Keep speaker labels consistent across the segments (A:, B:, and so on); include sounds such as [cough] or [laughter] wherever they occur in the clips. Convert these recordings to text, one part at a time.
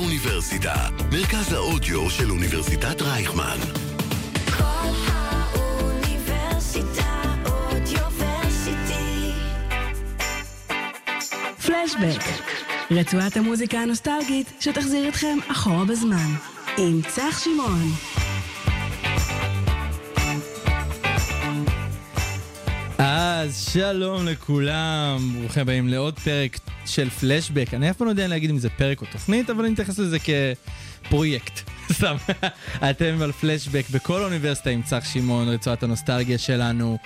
A: האוניברסיטה, מרכז האודיו של אוניברסיטת רייכמן.
B: כל האוניברסיטה אודיוורסיטי.
C: פלשבק, רצועת המוזיקה הנוסטלגית שתחזיר אתכם אחורה בזמן, עם צח שמעון.
D: אז שלום לכולם, ברוכים הבאים לעוד פרק של פלשבק. אני אף פעם לא יודע להגיד אם זה פרק או תוכנית, אבל אני אתייחס לזה כפרויקט. [laughs] סתם, אתם על פלשבק בכל אוניברסיטה עם צח שמעון, רצועת הנוסטלגיה שלנו,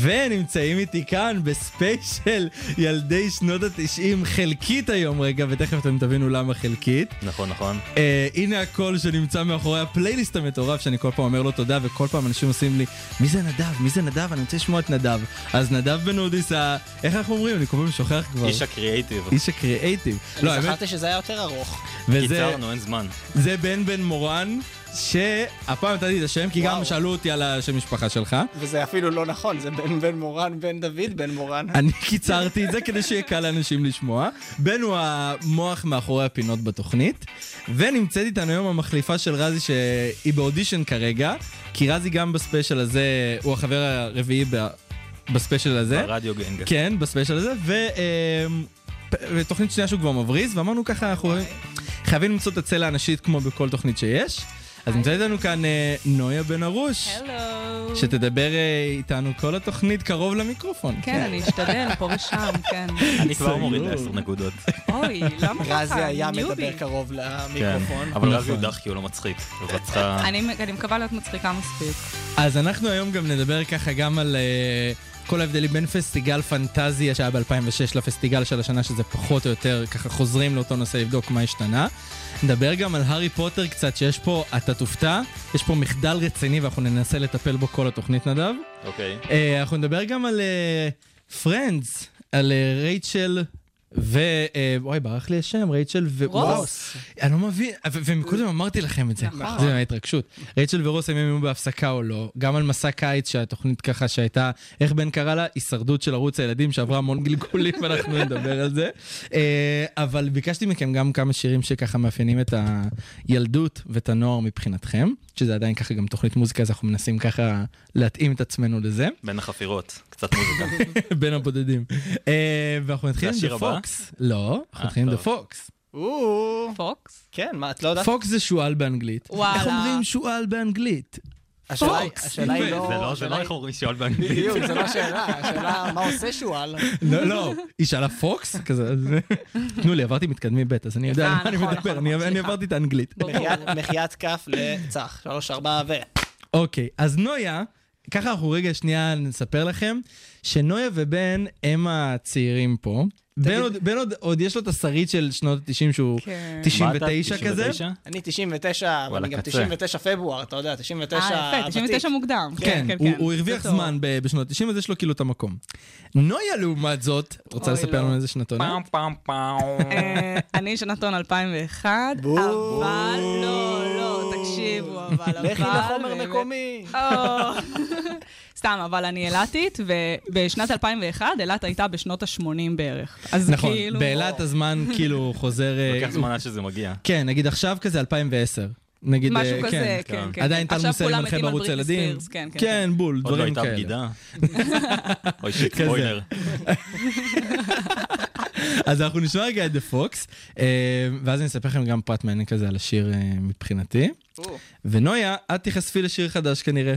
D: ונמצאים איתי כאן בספייס של ילדי שנות התשעים, חלקית היום רגע, ותכף אתם תבינו למה חלקית.
E: נכון, נכון.
D: Uh, הנה הקול שנמצא מאחורי הפלייליסט המטורף שאני כל פעם אומר לו תודה וכל פעם אנשים עושים לי מי זה נדב? מי זה נדב? אני רוצה לשמוע את נדב. אז נדב בן אודיס, ה- איך אנחנו אומרים? אני כל פעם שוכח כבר.
E: איש הקריאייטיב.
D: איש הקריאייטיב. לא,
F: אני
D: האמת,
F: זכרתי שזה היה יותר ארוך.
D: וזה
E: קיצרנו, אין זמן.
D: זה בן בן מורן, שהפעם נתתי את השם כי גם
F: וואו.
D: שאלו אותי על השם משפחה שלך.
F: וזה אפילו לא נכון, זה בן בן מורן, בן דוד בן מורן.
D: אני קיצרתי את זה כדי שיהיה קל לאנשים לשמוע. בן הוא המוח מאחורי הפינות בתוכנית, ונמצאת איתנו היום המחליפה של רזי שהיא באודישן כרגע, כי רזי גם בספיישל הזה, הוא החבר הרביעי ב- בספיישל הזה.
E: הרדיו גנג.
D: כן, בספיישל הזה, ו... אמ, פ- ותוכנית שנייה שהוא כבר מבריז, ואמרנו ככה, אנחנו חייבים למצוא את הצלע הנשית כמו בכל תוכנית שיש. אז נמצא איתנו כאן אה, נויה בן ארוש,
G: הלו.
D: שתדבר אה, איתנו כל התוכנית קרוב למיקרופון.
G: כן, אני אשתדל, פה ושם, כן.
E: אני כבר מוריד
D: סגור.
E: לעשר נקודות.
G: אוי, למה ככה?
F: רזי היה
G: אני אה, ניובי.
F: מדבר קרוב
E: כן.
F: למיקרופון.
E: אבל
D: נכון.
E: רזי הודח כי הוא לא מצחיק. אז את צריכה...
G: אני- אני מקווה להיות מצחיקה מספיק.
D: אז אנחנו היום גם נדבר ככה גם על אה, כל ההבדלים בין פסטיגל פנטזיה שהיה ב-2006 לפסטיגל של השנה, שזה פחות או יותר, ככה חוזרים לאותו נושא לבדוק מה השתנה. נדבר גם על הארי פוטר קצת, שיש פה, אתה תופתע, יש פה מחדל רציני ואנחנו ננסה לטפל בו כל התוכנית נדב.
E: אוקיי.
D: אה, אנחנו נדבר גם על פרנדס, על אה, רייצ'ל. ו... אה, וואי, ברח לי השם, רייצ'ל ו... וואו,
F: רוס.
D: אני לא מבין, ו- ומקודם אמרתי לכם את זה,
G: נכון.
D: זה מההתרגשות. רייצ'ל ורוס האם הם היו בהפסקה או לא, גם על מסע קיץ שהתוכנית ככה שהייתה, איך בן קרא לה? הישרדות של ערוץ הילדים שעברה המון גלגולים, [laughs] ואנחנו נדבר על זה. אה, אבל ביקשתי מכם גם כמה שירים שככה מאפיינים את הילדות ואת הנוער מבחינתכם, שזה עדיין ככה גם תוכנית מוזיקה, אז אנחנו מנסים ככה להתאים את עצמנו לזה,
E: בין החפירות. קצת
F: [laughs]
E: מוזיקה.
D: בין הבודדים. אה, ואנחנו נתחיל עם
E: זה השיר
D: דה
E: הבא?
D: פוקס. לא, אנחנו
E: אה,
D: נתחיל עם דה
E: טוב.
D: פוקס.
F: או,
G: פוקס?
F: כן, מה, את לא יודעת?
D: פוקס זה שועל באנגלית.
G: וואלה.
D: איך אומרים שועל באנגלית?
F: השאלה היא-
D: פוקס.
F: השאלה היא
D: זה
F: לא...
E: זה לא- זה
F: השאלה
E: לא
F: היא-
E: איך אומרים שואל
F: [laughs]
E: באנגלית. [laughs]
F: בדיוק, זה לא השאלה, השאלה מה עושה שועל.
D: לא, לא,
G: [laughs]
D: היא שאלה פוקס? כזה, אז... תנו לי, עברתי מתקדמי ב', אז אני יודע
G: אה,
D: על מה אני
G: נכון,
D: מדבר,
G: נכון,
D: אני-
G: נכון,
D: אני
G: סליחה.
D: עברתי את האנגלית.
G: ברור. אה,
F: מחיית- מחיית כף לצח, שלוש, ארבע ו...
D: אוקיי, אז נויה, ככה אנחנו רגע שנייה נספר לכם, שנויה ובן הם הצעירים פה. בן עוד- בן עוד- עוד יש לו את השריד של שנות ה-90 שהוא
G: כן.
D: 99
E: מה אתה?
D: כזה.
E: 99?
F: אני 99, אבל
E: וואלה,
F: אני גם
E: קצה.
F: 99 פברואר, אתה יודע, 99
G: אה, יפה, 99
F: ותיק.
G: מוקדם.
D: כן, הוא- הוא
G: זה
D: הרוויח
G: טוב.
D: זמן ב- בשנות ה-90, אז יש לו כאילו את המקום. נויה, לעומת זאת, רוצה
G: אוי,
D: לספר
G: לא.
D: לנו איזה שנתון?
E: פעם פעם פעם.
G: אה, אני שנתון 2001,
F: בואו.
G: אבל לא, לא, תקשיבו, אבל אבל...
F: לכי לחומר
G: באמת-
F: מקומי.
G: או. [laughs] סתם, אבל אני אילתית, ובשנת 2001 אילת הייתה בשנות ה-80 בערך. אז
D: נכון,
G: כאילו...
D: באילת הזמן כאילו חוזר... אה,
E: לוקח זמן עד שזה מגיע.
D: כן, נגיד עכשיו כזה 2010. נגיד,
G: משהו
D: אה,
G: כזה, כן, כן.
D: עדיין טל
G: עכשיו
D: מוסר
G: כולם
D: מנחה
G: מתים על
D: בערוץ
G: בריטני
D: הילדים.
G: ספירס, כן, כן,
D: כן, בול,
E: עוד לא
D: דברים
E: הייתה [laughs]
D: כאלה.
E: בגידה. אוי שיט, ספוילר.
D: אז אנחנו נשמע רגע את דה פוקס, אה, ואז אני אספר לכם גם פרט מעניין כזה על השיר אה, מבחינתי.
F: או.
D: ונויה, את תיחשפי לשיר חדש כנראה.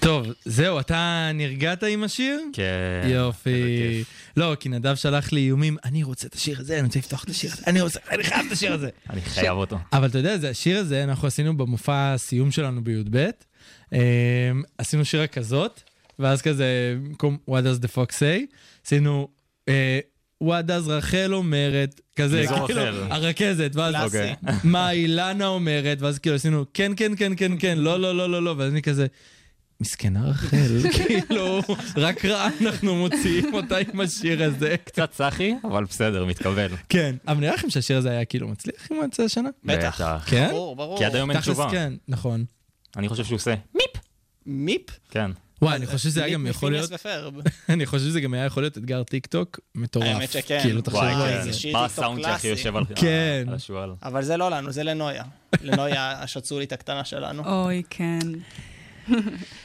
D: טוב, זהו, אתה נרגעת עם השיר?
E: כן. איזה
D: יופי.
E: כיף.
D: לא, כי נדב שלח לי איומים, אני רוצה את השיר הזה, אני רוצה לפתוח את השיר הזה, אני רוצה, אני חייב את השיר הזה.
E: אני חייב אותו.
D: אבל אתה יודע, זה השיר הזה, אנחנו עשינו במופע הסיום שלנו בי"ב, אמ, עשינו שירה כזאת, ואז כזה, במקום What does the fox say, עשינו אה, What does רחל אומרת, כזה,
E: אזור
D: כאילו,
E: אחר. אוקיי.
D: הרכזת, ואז
F: קלאסי.
D: [laughs] מה אילנה אומרת, ואז כאילו עשינו כן, כן, כן, כן, כן, לא, לא, לא, לא, לא, ואז אני כזה... מסכנה רחל, [laughs] כאילו, רק רעה אנחנו מוציאים אותה עם השיר
E: [laughs]
D: הזה.
E: קצת סאחי, אבל בסדר, מתקבל.
D: כן, אבל נראה לכם שהשיר הזה היה כאילו מצליח עם יוצא השנה?
F: בטח.
D: כן?
F: ברור, ברור.
E: כי עד היום אין
D: תכלס
E: תשובה.
D: כן, נכון.
E: אני חושב שהוא עושה.
F: מיפ?
E: כן.
D: וואי, אני חושב שזה היה גם יכול להיות,
F: מיפ מפינס ופרב.
D: [laughs] אני חושב שזה גם היה יכול להיות אתגר טיק טוק מטורף.
F: האמת שכן.
D: כאילו, תחשוב
E: וואי, כן.
D: על
F: וואי,
D: זה.
F: זה שיט
E: מה
F: איתו
E: הסאונד שהכי
F: קלאסי.
E: יושב על
D: כן.
E: על השועל?
F: אבל זה לא לנו, זה לנויה. לנויה השצולית הקטנה שלנו.
G: אוי, כן.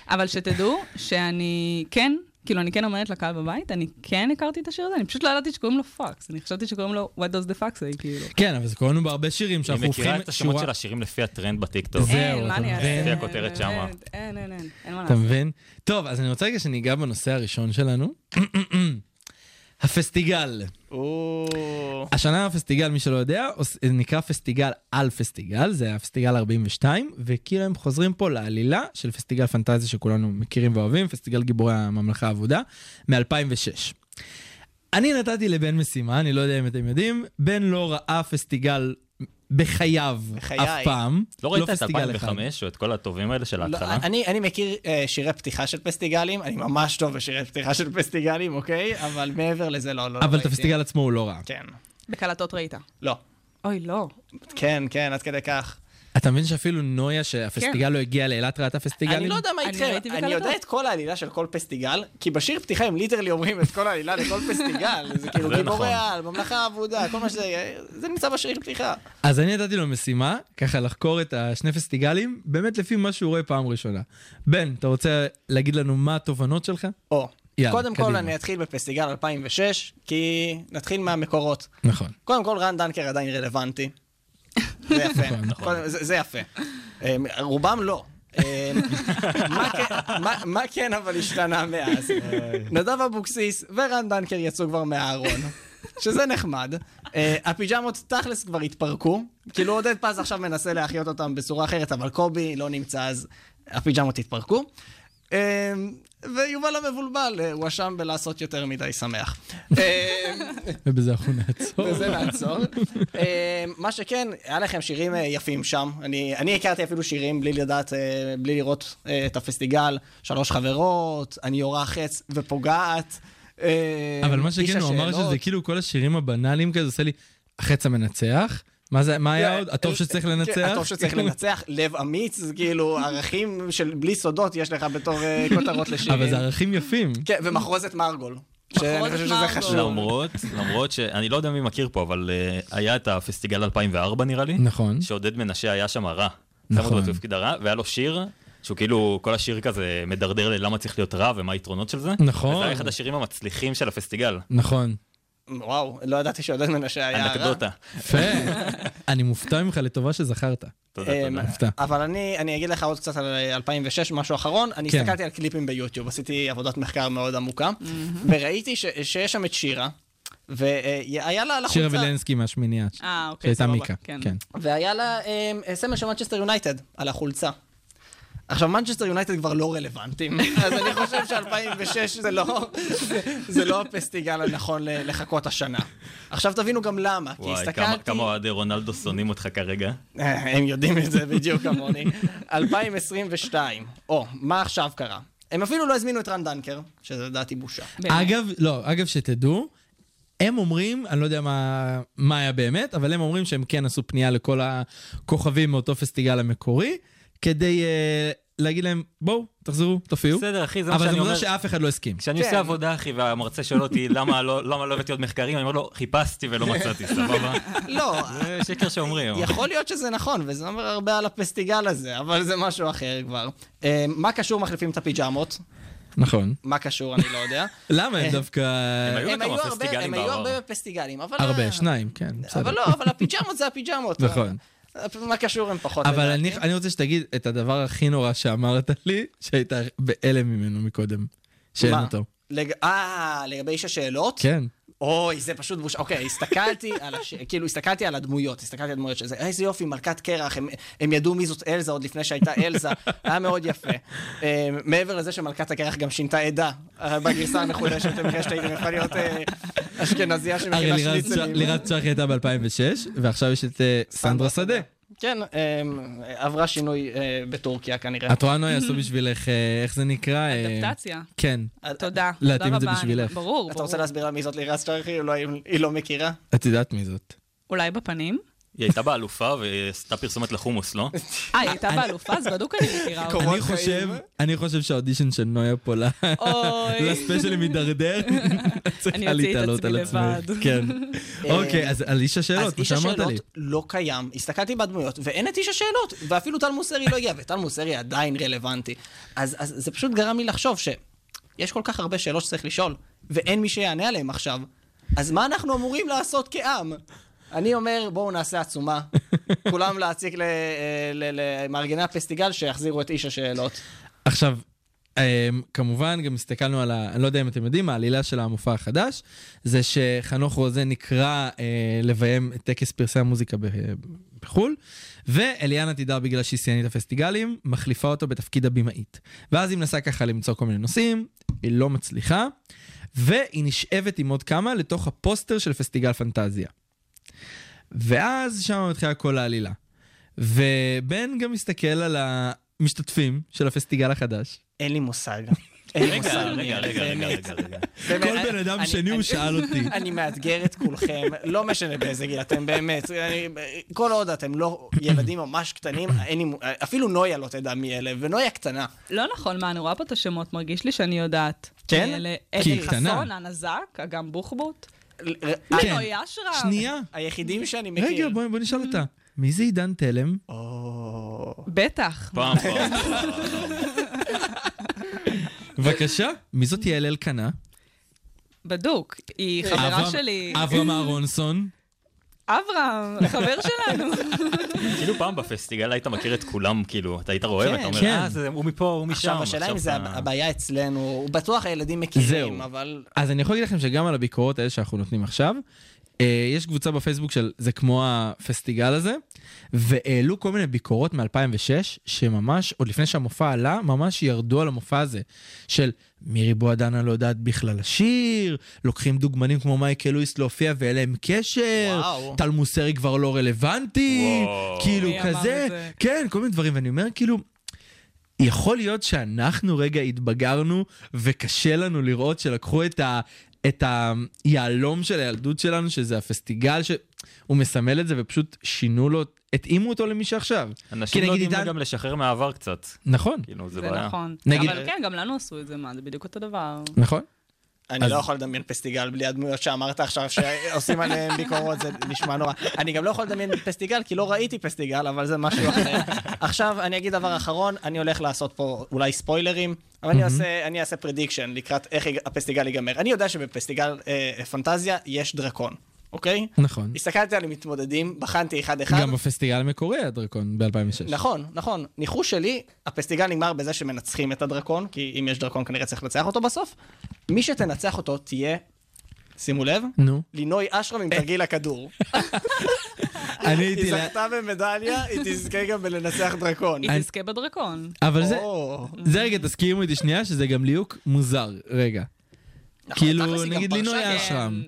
G: אבל שתדעו שאני כן, כאילו, אני כן אומרת לקהל בבית, אני כן הכרתי את השיר הזה, אני פשוט לא ידעתי שקוראים לו פאקס, אני חשבתי שקוראים לו What does the fuck say, כאילו.
D: כן, אבל זה קורה לנו בהרבה שירים
E: אני
D: שאנחנו הופכים...
E: מכירה את השמות
D: שורה-
E: של השירים לפי הטרנד בטיקטוק.
D: זהו,
G: אין,
D: אתה
G: מה
D: מבין?
G: אני אעשה?
D: לפי
E: הכותרת
G: אין,
E: שמה.
G: אין, אין, אין, אין מה
D: אתה
G: לעשות.
D: מבין? טוב, אז אני רוצה רגע שניגע בנושא הראשון שלנו. [clears throat] הפסטיגל.
F: או,
D: השנה הפסטיגל, מי שלא יודע, עוש- נקרא פסטיגל על פסטיגל, זה היה פסטיגל 42, וכאילו הם חוזרים פה לעלילה של פסטיגל פנטזיה שכולנו מכירים ואוהבים, פסטיגל גיבורי הממלכה האבודה, מ-2006. אני נתתי לבן משימה, אני לא יודע אם אתם יודעים, בן לא ראה פסטיגל בחייו
F: בחיי.
D: אף פעם.
E: לא ראית את
D: פסטיגל אחד.
E: 2005 או את כל הטובים האלה של
F: לא,
E: ההתחלה?
F: אני אני מכיר אה, שירי פתיחה של פסטיגלים, אני ממש טוב בשירי פתיחה של פסטיגלים, אוקיי? אבל מעבר לזה לא, לא
D: אבל את
F: ראיתי.
D: הפסטיגל עצמו הוא לא ראה.
F: כן.
G: בקלטות ראית.
F: לא.
G: אוי, לא.
F: כן, כן, עד כדי כך.
D: אתה מבין שאפילו נויה שהפסטיגל לא הגיע לאילת ראתה פסטיגלים?
F: כן. אני לא יודע מה
G: אני
F: איתכם,
G: ראיתי
F: אני
G: בקלטות.
F: יודע את כל העלילה של כל פסטיגל, כי בשיר פתיחה הם ליטרלי אומרים את כל העלילה לכל פסטיגל, זה כאילו
E: זה נכון.
F: גיבורי על, ממלכה האבודה, כל מה שזה, זה נמצא בשיר פתיחה.
D: אז אני נתתי לו משימה, ככה לחקור את השני פסטיגלים, באמת לפי מה שהוא רואה פעם ראשונה. בן, אתה רוצה להגיד לנו מה התובנות שלך?
F: או,
D: יאללה,
F: קודם כל
D: קדימה.
F: אני אתחיל בפסטיגל 2006, כי נתחיל מהמקורות.
D: נכון.
F: קודם כל, רן דנקר עדיין רלוונטי. זה יפה, קודם- זה זה יפה. אה, רובם לא. אה, מה כן- מה- מה כן אבל השתנה מאז? נדב אבוקסיס ורן דנקר יצאו כבר מהארון. שזה נחמד. אה, הפיג'מות תכלס כבר התפרקו. כאילו עודד פז עכשיו מנסה להחיות אותם בצורה אחרת, אבל קובי לא נמצא אז הפיג'מות התפרקו. אה, ויובל המבולבל, אה, הוא אשם בלעשות יותר מדי שמח. אה,
D: ובזה אנחנו נעצור.
F: וזה
D: [laughs]
F: נעצור. אה, מה שכן, היה לכם שירים אה, יפים שם. אני אני הכרתי אפילו שירים בלי לדעת, אה, בלי לראות אה, את הפסטיגל. שלוש חברות, אני יורה חץ ופוגעת. אה,
D: אבל מה שכן,
F: איש
D: הוא אמר
F: השאלות.
D: שזה כאילו כל השירים הבנאליים כזה, עושה לי, החץ המנצח? מה זה, מה היה עוד? הטוב שצריך
F: כן,
D: לנצח?
F: הטוב שצריך לנצח, לב אמיץ, זה כאילו ערכים של בלי סודות יש לך בתור אה, כותרות לשירים.
D: [laughs] אבל זה ערכים יפים.
F: כן, ומחרוזת מרגול. שאני חושב שזה
G: מרגול.
F: חשוב.
E: למרות, למרות שאני לא יודע מי מכיר פה, אבל אה, היה את הפסטיגל 2004 נראה לי,
D: נכון.
E: שעודד מנשה היה שם הרע.
D: נכון.
E: נכון. בתפקיד הרע, והיה לו שיר, שהוא כאילו, כל השיר כזה מדרדר ללמה צריך להיות רע ומה היתרונות של זה.
D: נכון.
E: וזה היה אחד השירים המצליחים של הפסטיגל.
D: נכון.
F: וואו, לא ידעתי שעודד מנשה היה... הרע.
E: אנקדוטה.
D: יפה. אני מופתע ממך לטובה שזכרת.
E: תודה, תודה.
F: אמ,
D: הפתעה.
F: אבל אני, אני אגיד לך עוד קצת על אה, 2006, משהו אחרון. אני
D: כן.
F: הסתכלתי על קליפים ביוטיוב, עשיתי עבודת מחקר מאוד עמוקה, וראיתי ש, שיש שם את שירה, והיה לה על
D: שירה
F: החולצה,
D: וילנסקי מהשמינייה,
G: אה, אוקיי,
D: שהייתה
G: סבבה.
D: מיקה. כן.
F: והיה לה אה, סמל של מנצ'סטר יונייטד על החולצה. עכשיו, מנצ'סטר יונייטד כבר לא רלוונטיים, אז אני חושב ש-2006 זה, לא, זה, זה לא הפסטיגל הנכון ל- לחכות השנה. עכשיו תבינו גם למה, כי
E: וואי,
F: הסתכלתי...
E: כמה- כמה אוהדי רונלדו שונאים אותך כרגע.
F: אה, הם יודעים את זה בדיוק
E: [laughs]
F: כמוני. 2022. או, מה עכשיו קרה? הם אפילו לא הזמינו את רן דנקר, שזה לדעתי בושה.
G: באמת.
D: אגב, לא, אגב, שתדעו, הם אומרים, אני לא יודע מה, מה היה באמת, אבל הם אומרים שהם כן עשו פנייה לכל הכוכבים מאותו פסטיגל המקורי, כדי uh, להגיד להם, בואו, תחזרו, תופיעו.
E: בסדר, אחי, זה מה
D: אבל זה
E: שאני
D: מוזר
E: אומר.
D: שאף אחד לא הסכים.
E: כשאני
F: כן.
E: עושה עבודה, אחי, והמרצה שואל אותי למה לא למה לא הבאתי עוד מחקרים, אני אומר לו, חיפשתי ולא מצאתי, סבבה? [laughs]
F: לא,
E: זה שקר שאומרים.
F: יכול להיות שזה נכון, וזה אומר הרבה על הפסטיגל הזה, אבל זה משהו אחר כבר. אה, מה קשור מחליפים את הפיג'מות?
D: נכון.
F: מה קשור, אני לא יודע.
D: למה הם דווקא...
E: הם [laughs] היו
F: הם
E: בכמה
F: היו הרבה-
E: פסטיגלים
F: הם היו
E: בעבר.
F: הרבה בפסטיגלים, אבל... אה,
D: הרבה, שניים, כן, בסדר.
F: אבל לא, אבל הפיג'מות זה הפיג'מות.
D: [laughs] נכון.
F: מה קשור הם פחות...
D: אבל
F: לדעתי.
D: אני, אני רוצה שתגיד את הדבר הכי נורא שאמרת לי, שהיית בהלם ממנו מקודם, שאין
F: מה?
D: אותו.
F: לג- אה, לגבי איש השאלות?
D: כן.
F: אוי, זה פשוט בושה. אוקיי, הסתכלתי על הש... כאילו, הסתכלתי על הדמויות, הסתכלתי על הדמויות של זה. איזה יופי, מלכת קרח, הם, הם ידעו מי זאת אלזה עוד לפני שהייתה אלזה, [laughs] היה מאוד יפה. אה, מעבר לזה שמלכת הקרח גם שינתה עדה, אה, בגרסה המחודשת, במקרה שהייתם יכולה להיות אה, אשכנזיה
D: הרי
F: שמכינה
D: לירז צח-
F: שניצלים.
D: לירז צחי הייתה ב-2006, ועכשיו יש את אה, סנדרה שדה.
F: כן, אה, עברה שינוי אה, בטורקיה כנראה.
D: את רואה נויה
F: [laughs]
D: עשו בשבילך, אה, איך זה נקרא? אה,
G: אדפטציה.
D: כן.
G: תודה.
D: להתאים
G: תודה
D: את זה
G: רבה, אני-
D: בשבילך.
G: ברור, ברור.
F: אתה רוצה להסביר לה מי זאת לירז צ'רחי? אולי היא לא מכירה?
D: את יודעת מי זאת.
G: אולי בפנים?
E: היא הייתה באלופה ועשתה פרסומת לחומוס,
F: [laughs]
E: לא?
G: אה, היא הייתה באלופה, אז בדוק אני מכירה אותה.
F: קורות
D: אני חושב,
F: חיים.
D: אני חושב שהאודישן של נויה פה ל-
G: אוי.
D: לספיישל
G: [laughs]
D: מידרדר,
G: אוציא
D: צריכה
G: את
D: להתעלות
G: עצמי
D: על עצמך.
G: לבד. אה,
D: כן. אוקיי, אז על איש
F: אז
D: השאלות, כמו
F: איש
D: שאמרת
F: השאלות
D: לי.
F: לא קיים, הסתכלתי בדמויות, ואין את איש השאלות, ואפילו טל מוסרי לא הגיע, וטל מוסרי עדיין רלוונטי. אז, אז זה פשוט גרם לי לחשוב שיש כל כך הרבה שאלות שצריך לשאול, ואין מי שיענה עליהן עכשיו, אז מה אנחנו אמורים לעשות כעם? אני אומר, בואו
E: [laughs]
F: נעשה עצומה. כולם להציק ל- אה, ל- למארגני הפסטיגל שיחזירו את איש השאלות.
D: עכשיו, אמ, כמובן, גם הסתכלנו על ה... אני לא יודע אם אתם יודעים, העלילה של המופע החדש, זה שחנוך רוזן נקרא אה, לביים את טקס פרסי המוזיקה ב- בחו"ל, ואליאנה תדהר, בגלל שהיא שיאנית הפסטיגלים, מחליפה אותו בתפקיד הבמאית. ואז היא מנסה ככה למצוא כל מיני נושאים, היא לא מצליחה, והיא נשאבת עם עוד כמה לתוך הפוסטר של פסטיגל פנטזיה. ואז שם מתחילה כל העלילה. ובן גם מסתכל על המשתתפים של הפסטיגל החדש.
F: אין לי מושג. אין לי מושג.
E: רגע, אה, רגע, רגע, רגע, רגע, רגע.
F: באמת,
D: כל
F: אני-
D: בן אדם
F: אני-
D: שני הוא
F: אני-
D: שאל אותי.
F: אני מאתגר את כולכם, לא משנה באיזה גיל אתם באמת. אני- כל עוד אתם לא ילדים ממש קטנים, אין לי מו- אפילו נויה לא תדע מי אלה, ונויה קטנה.
G: לא נכון, מה, אני רואה פה את השמות, מרגיש לי שאני יודעת.
F: כן?
G: אלה-
D: כי
G: אלי
D: היא קטנה.
G: חסון, הנזק, אגם בוחבוט.
D: כן.
G: לא, היא אשרם.
D: שנייה,
F: היחידים שאני מכיר.
D: רגע, בוא בוא נשאל אותה. מי זה עידן תלם?
G: בטח.
E: פעם פעם.
D: בבקשה. מי זאת יעל אלקנה?
G: בדוק. היא חברה שלי.
D: כן. אברהם אהרונסון.
G: אברהם, חבר שלנו.
D: [laughs]
E: כאילו פעם בפסטיגל היית מכיר את כולם, כאילו, אתה היית רואה ואתה אומר,
D: כן.
E: אה, זה הוא מפה, הוא משם.
F: עכשיו, השאלה אם זה
E: אתה-
F: הבעיה אצלנו, הוא בטוח הילדים
D: זהו.
F: מכירים, אבל...
D: אז אני יכול להגיד לכם שגם על הביקורות האלה שאנחנו נותנים עכשיו, אה, יש קבוצה בפייסבוק של זה כמו הפסטיגל הזה, והעלו כל מיני ביקורות מ-2006, שממש, עוד לפני שהמופע עלה, ממש ירדו על המופע הזה, של מירי בועדנה לא יודעת בכלל לשיר, לוקחים דוגמנים כמו מייקל לואיס להופיע ואין להם קשר,
F: וואו.
D: טל מוסרי כבר לא רלוונטי,
E: וואו.
D: כאילו
G: מי אמר
D: כזה,
G: את זה?
D: כן, כל מיני דברים, ואני אומר כאילו... יכול להיות שאנחנו רגע התבגרנו וקשה לנו לראות שלקחו את, ה, את היהלום של הילדות שלנו, שזה הפסטיגל שהוא מסמל את זה ופשוט שינו לו, התאימו אותו למי שעכשיו.
E: אנשים
D: כי
F: כאילו,
E: לא
D: נגיד
E: יודעים
D: עידן-
E: גם לשחרר מהעבר קצת.
D: נכון,
E: כאילו, זה
G: זה
E: בעיה.
G: נכון.
D: נגיד-
G: אבל כן, גם לנו עשו את זה, מה, זה בדיוק אותו דבר.
D: נכון.
F: אני
D: אז-
F: לא יכול לדמיין פסטיגל בלי הדמויות שאמרת עכשיו, שעושים עליהם ביקורות, זה נשמע נורא. אני גם לא יכול לדמיין פסטיגל, כי לא ראיתי פסטיגל, אבל זה משהו אחר. עכשיו, אני אגיד דבר אחרון, אני הולך לעשות פה אולי ספוילרים, אבל אני אעשה- אני אעשה פרדיקשן לקראת איך יג- הפסטיגל ייגמר. אני יודע שבפסטיגל אה, פנטזיה יש דרקון, אוקיי?
D: נכון.
F: הסתכלתי על המתמודדים, בחנתי אחד-אחד.
D: גם בפסטיגל המקורי היה דרקון ב-2006.
F: נכון, נכון. ניחוש שלי, הפסטיגל נגמר בזה שמנצחים את הדרקון, כי אם יש דרקון כנראה צריך לנצח אותו בסוף. מי שתנצח אותו תהיה, שימו לב,
D: נו.
F: לינוי אשרם עם תרגיל הכדור.
D: אני הייתי...
F: היא
D: לה-
F: זכתה במדליה, היא תזכה גם בלנצח דרקון.
G: היא תזכה בדרקון.
D: אבל זה...
F: או.
D: זה רגע, תסכימו איתי שנייה, שזה גם ליהוק מוזר, רגע.
F: נכון, תכלס
D: כאילו,
F: היא גם
D: נגיד
F: פרשה
D: לינוי
F: גם.
D: אשרם,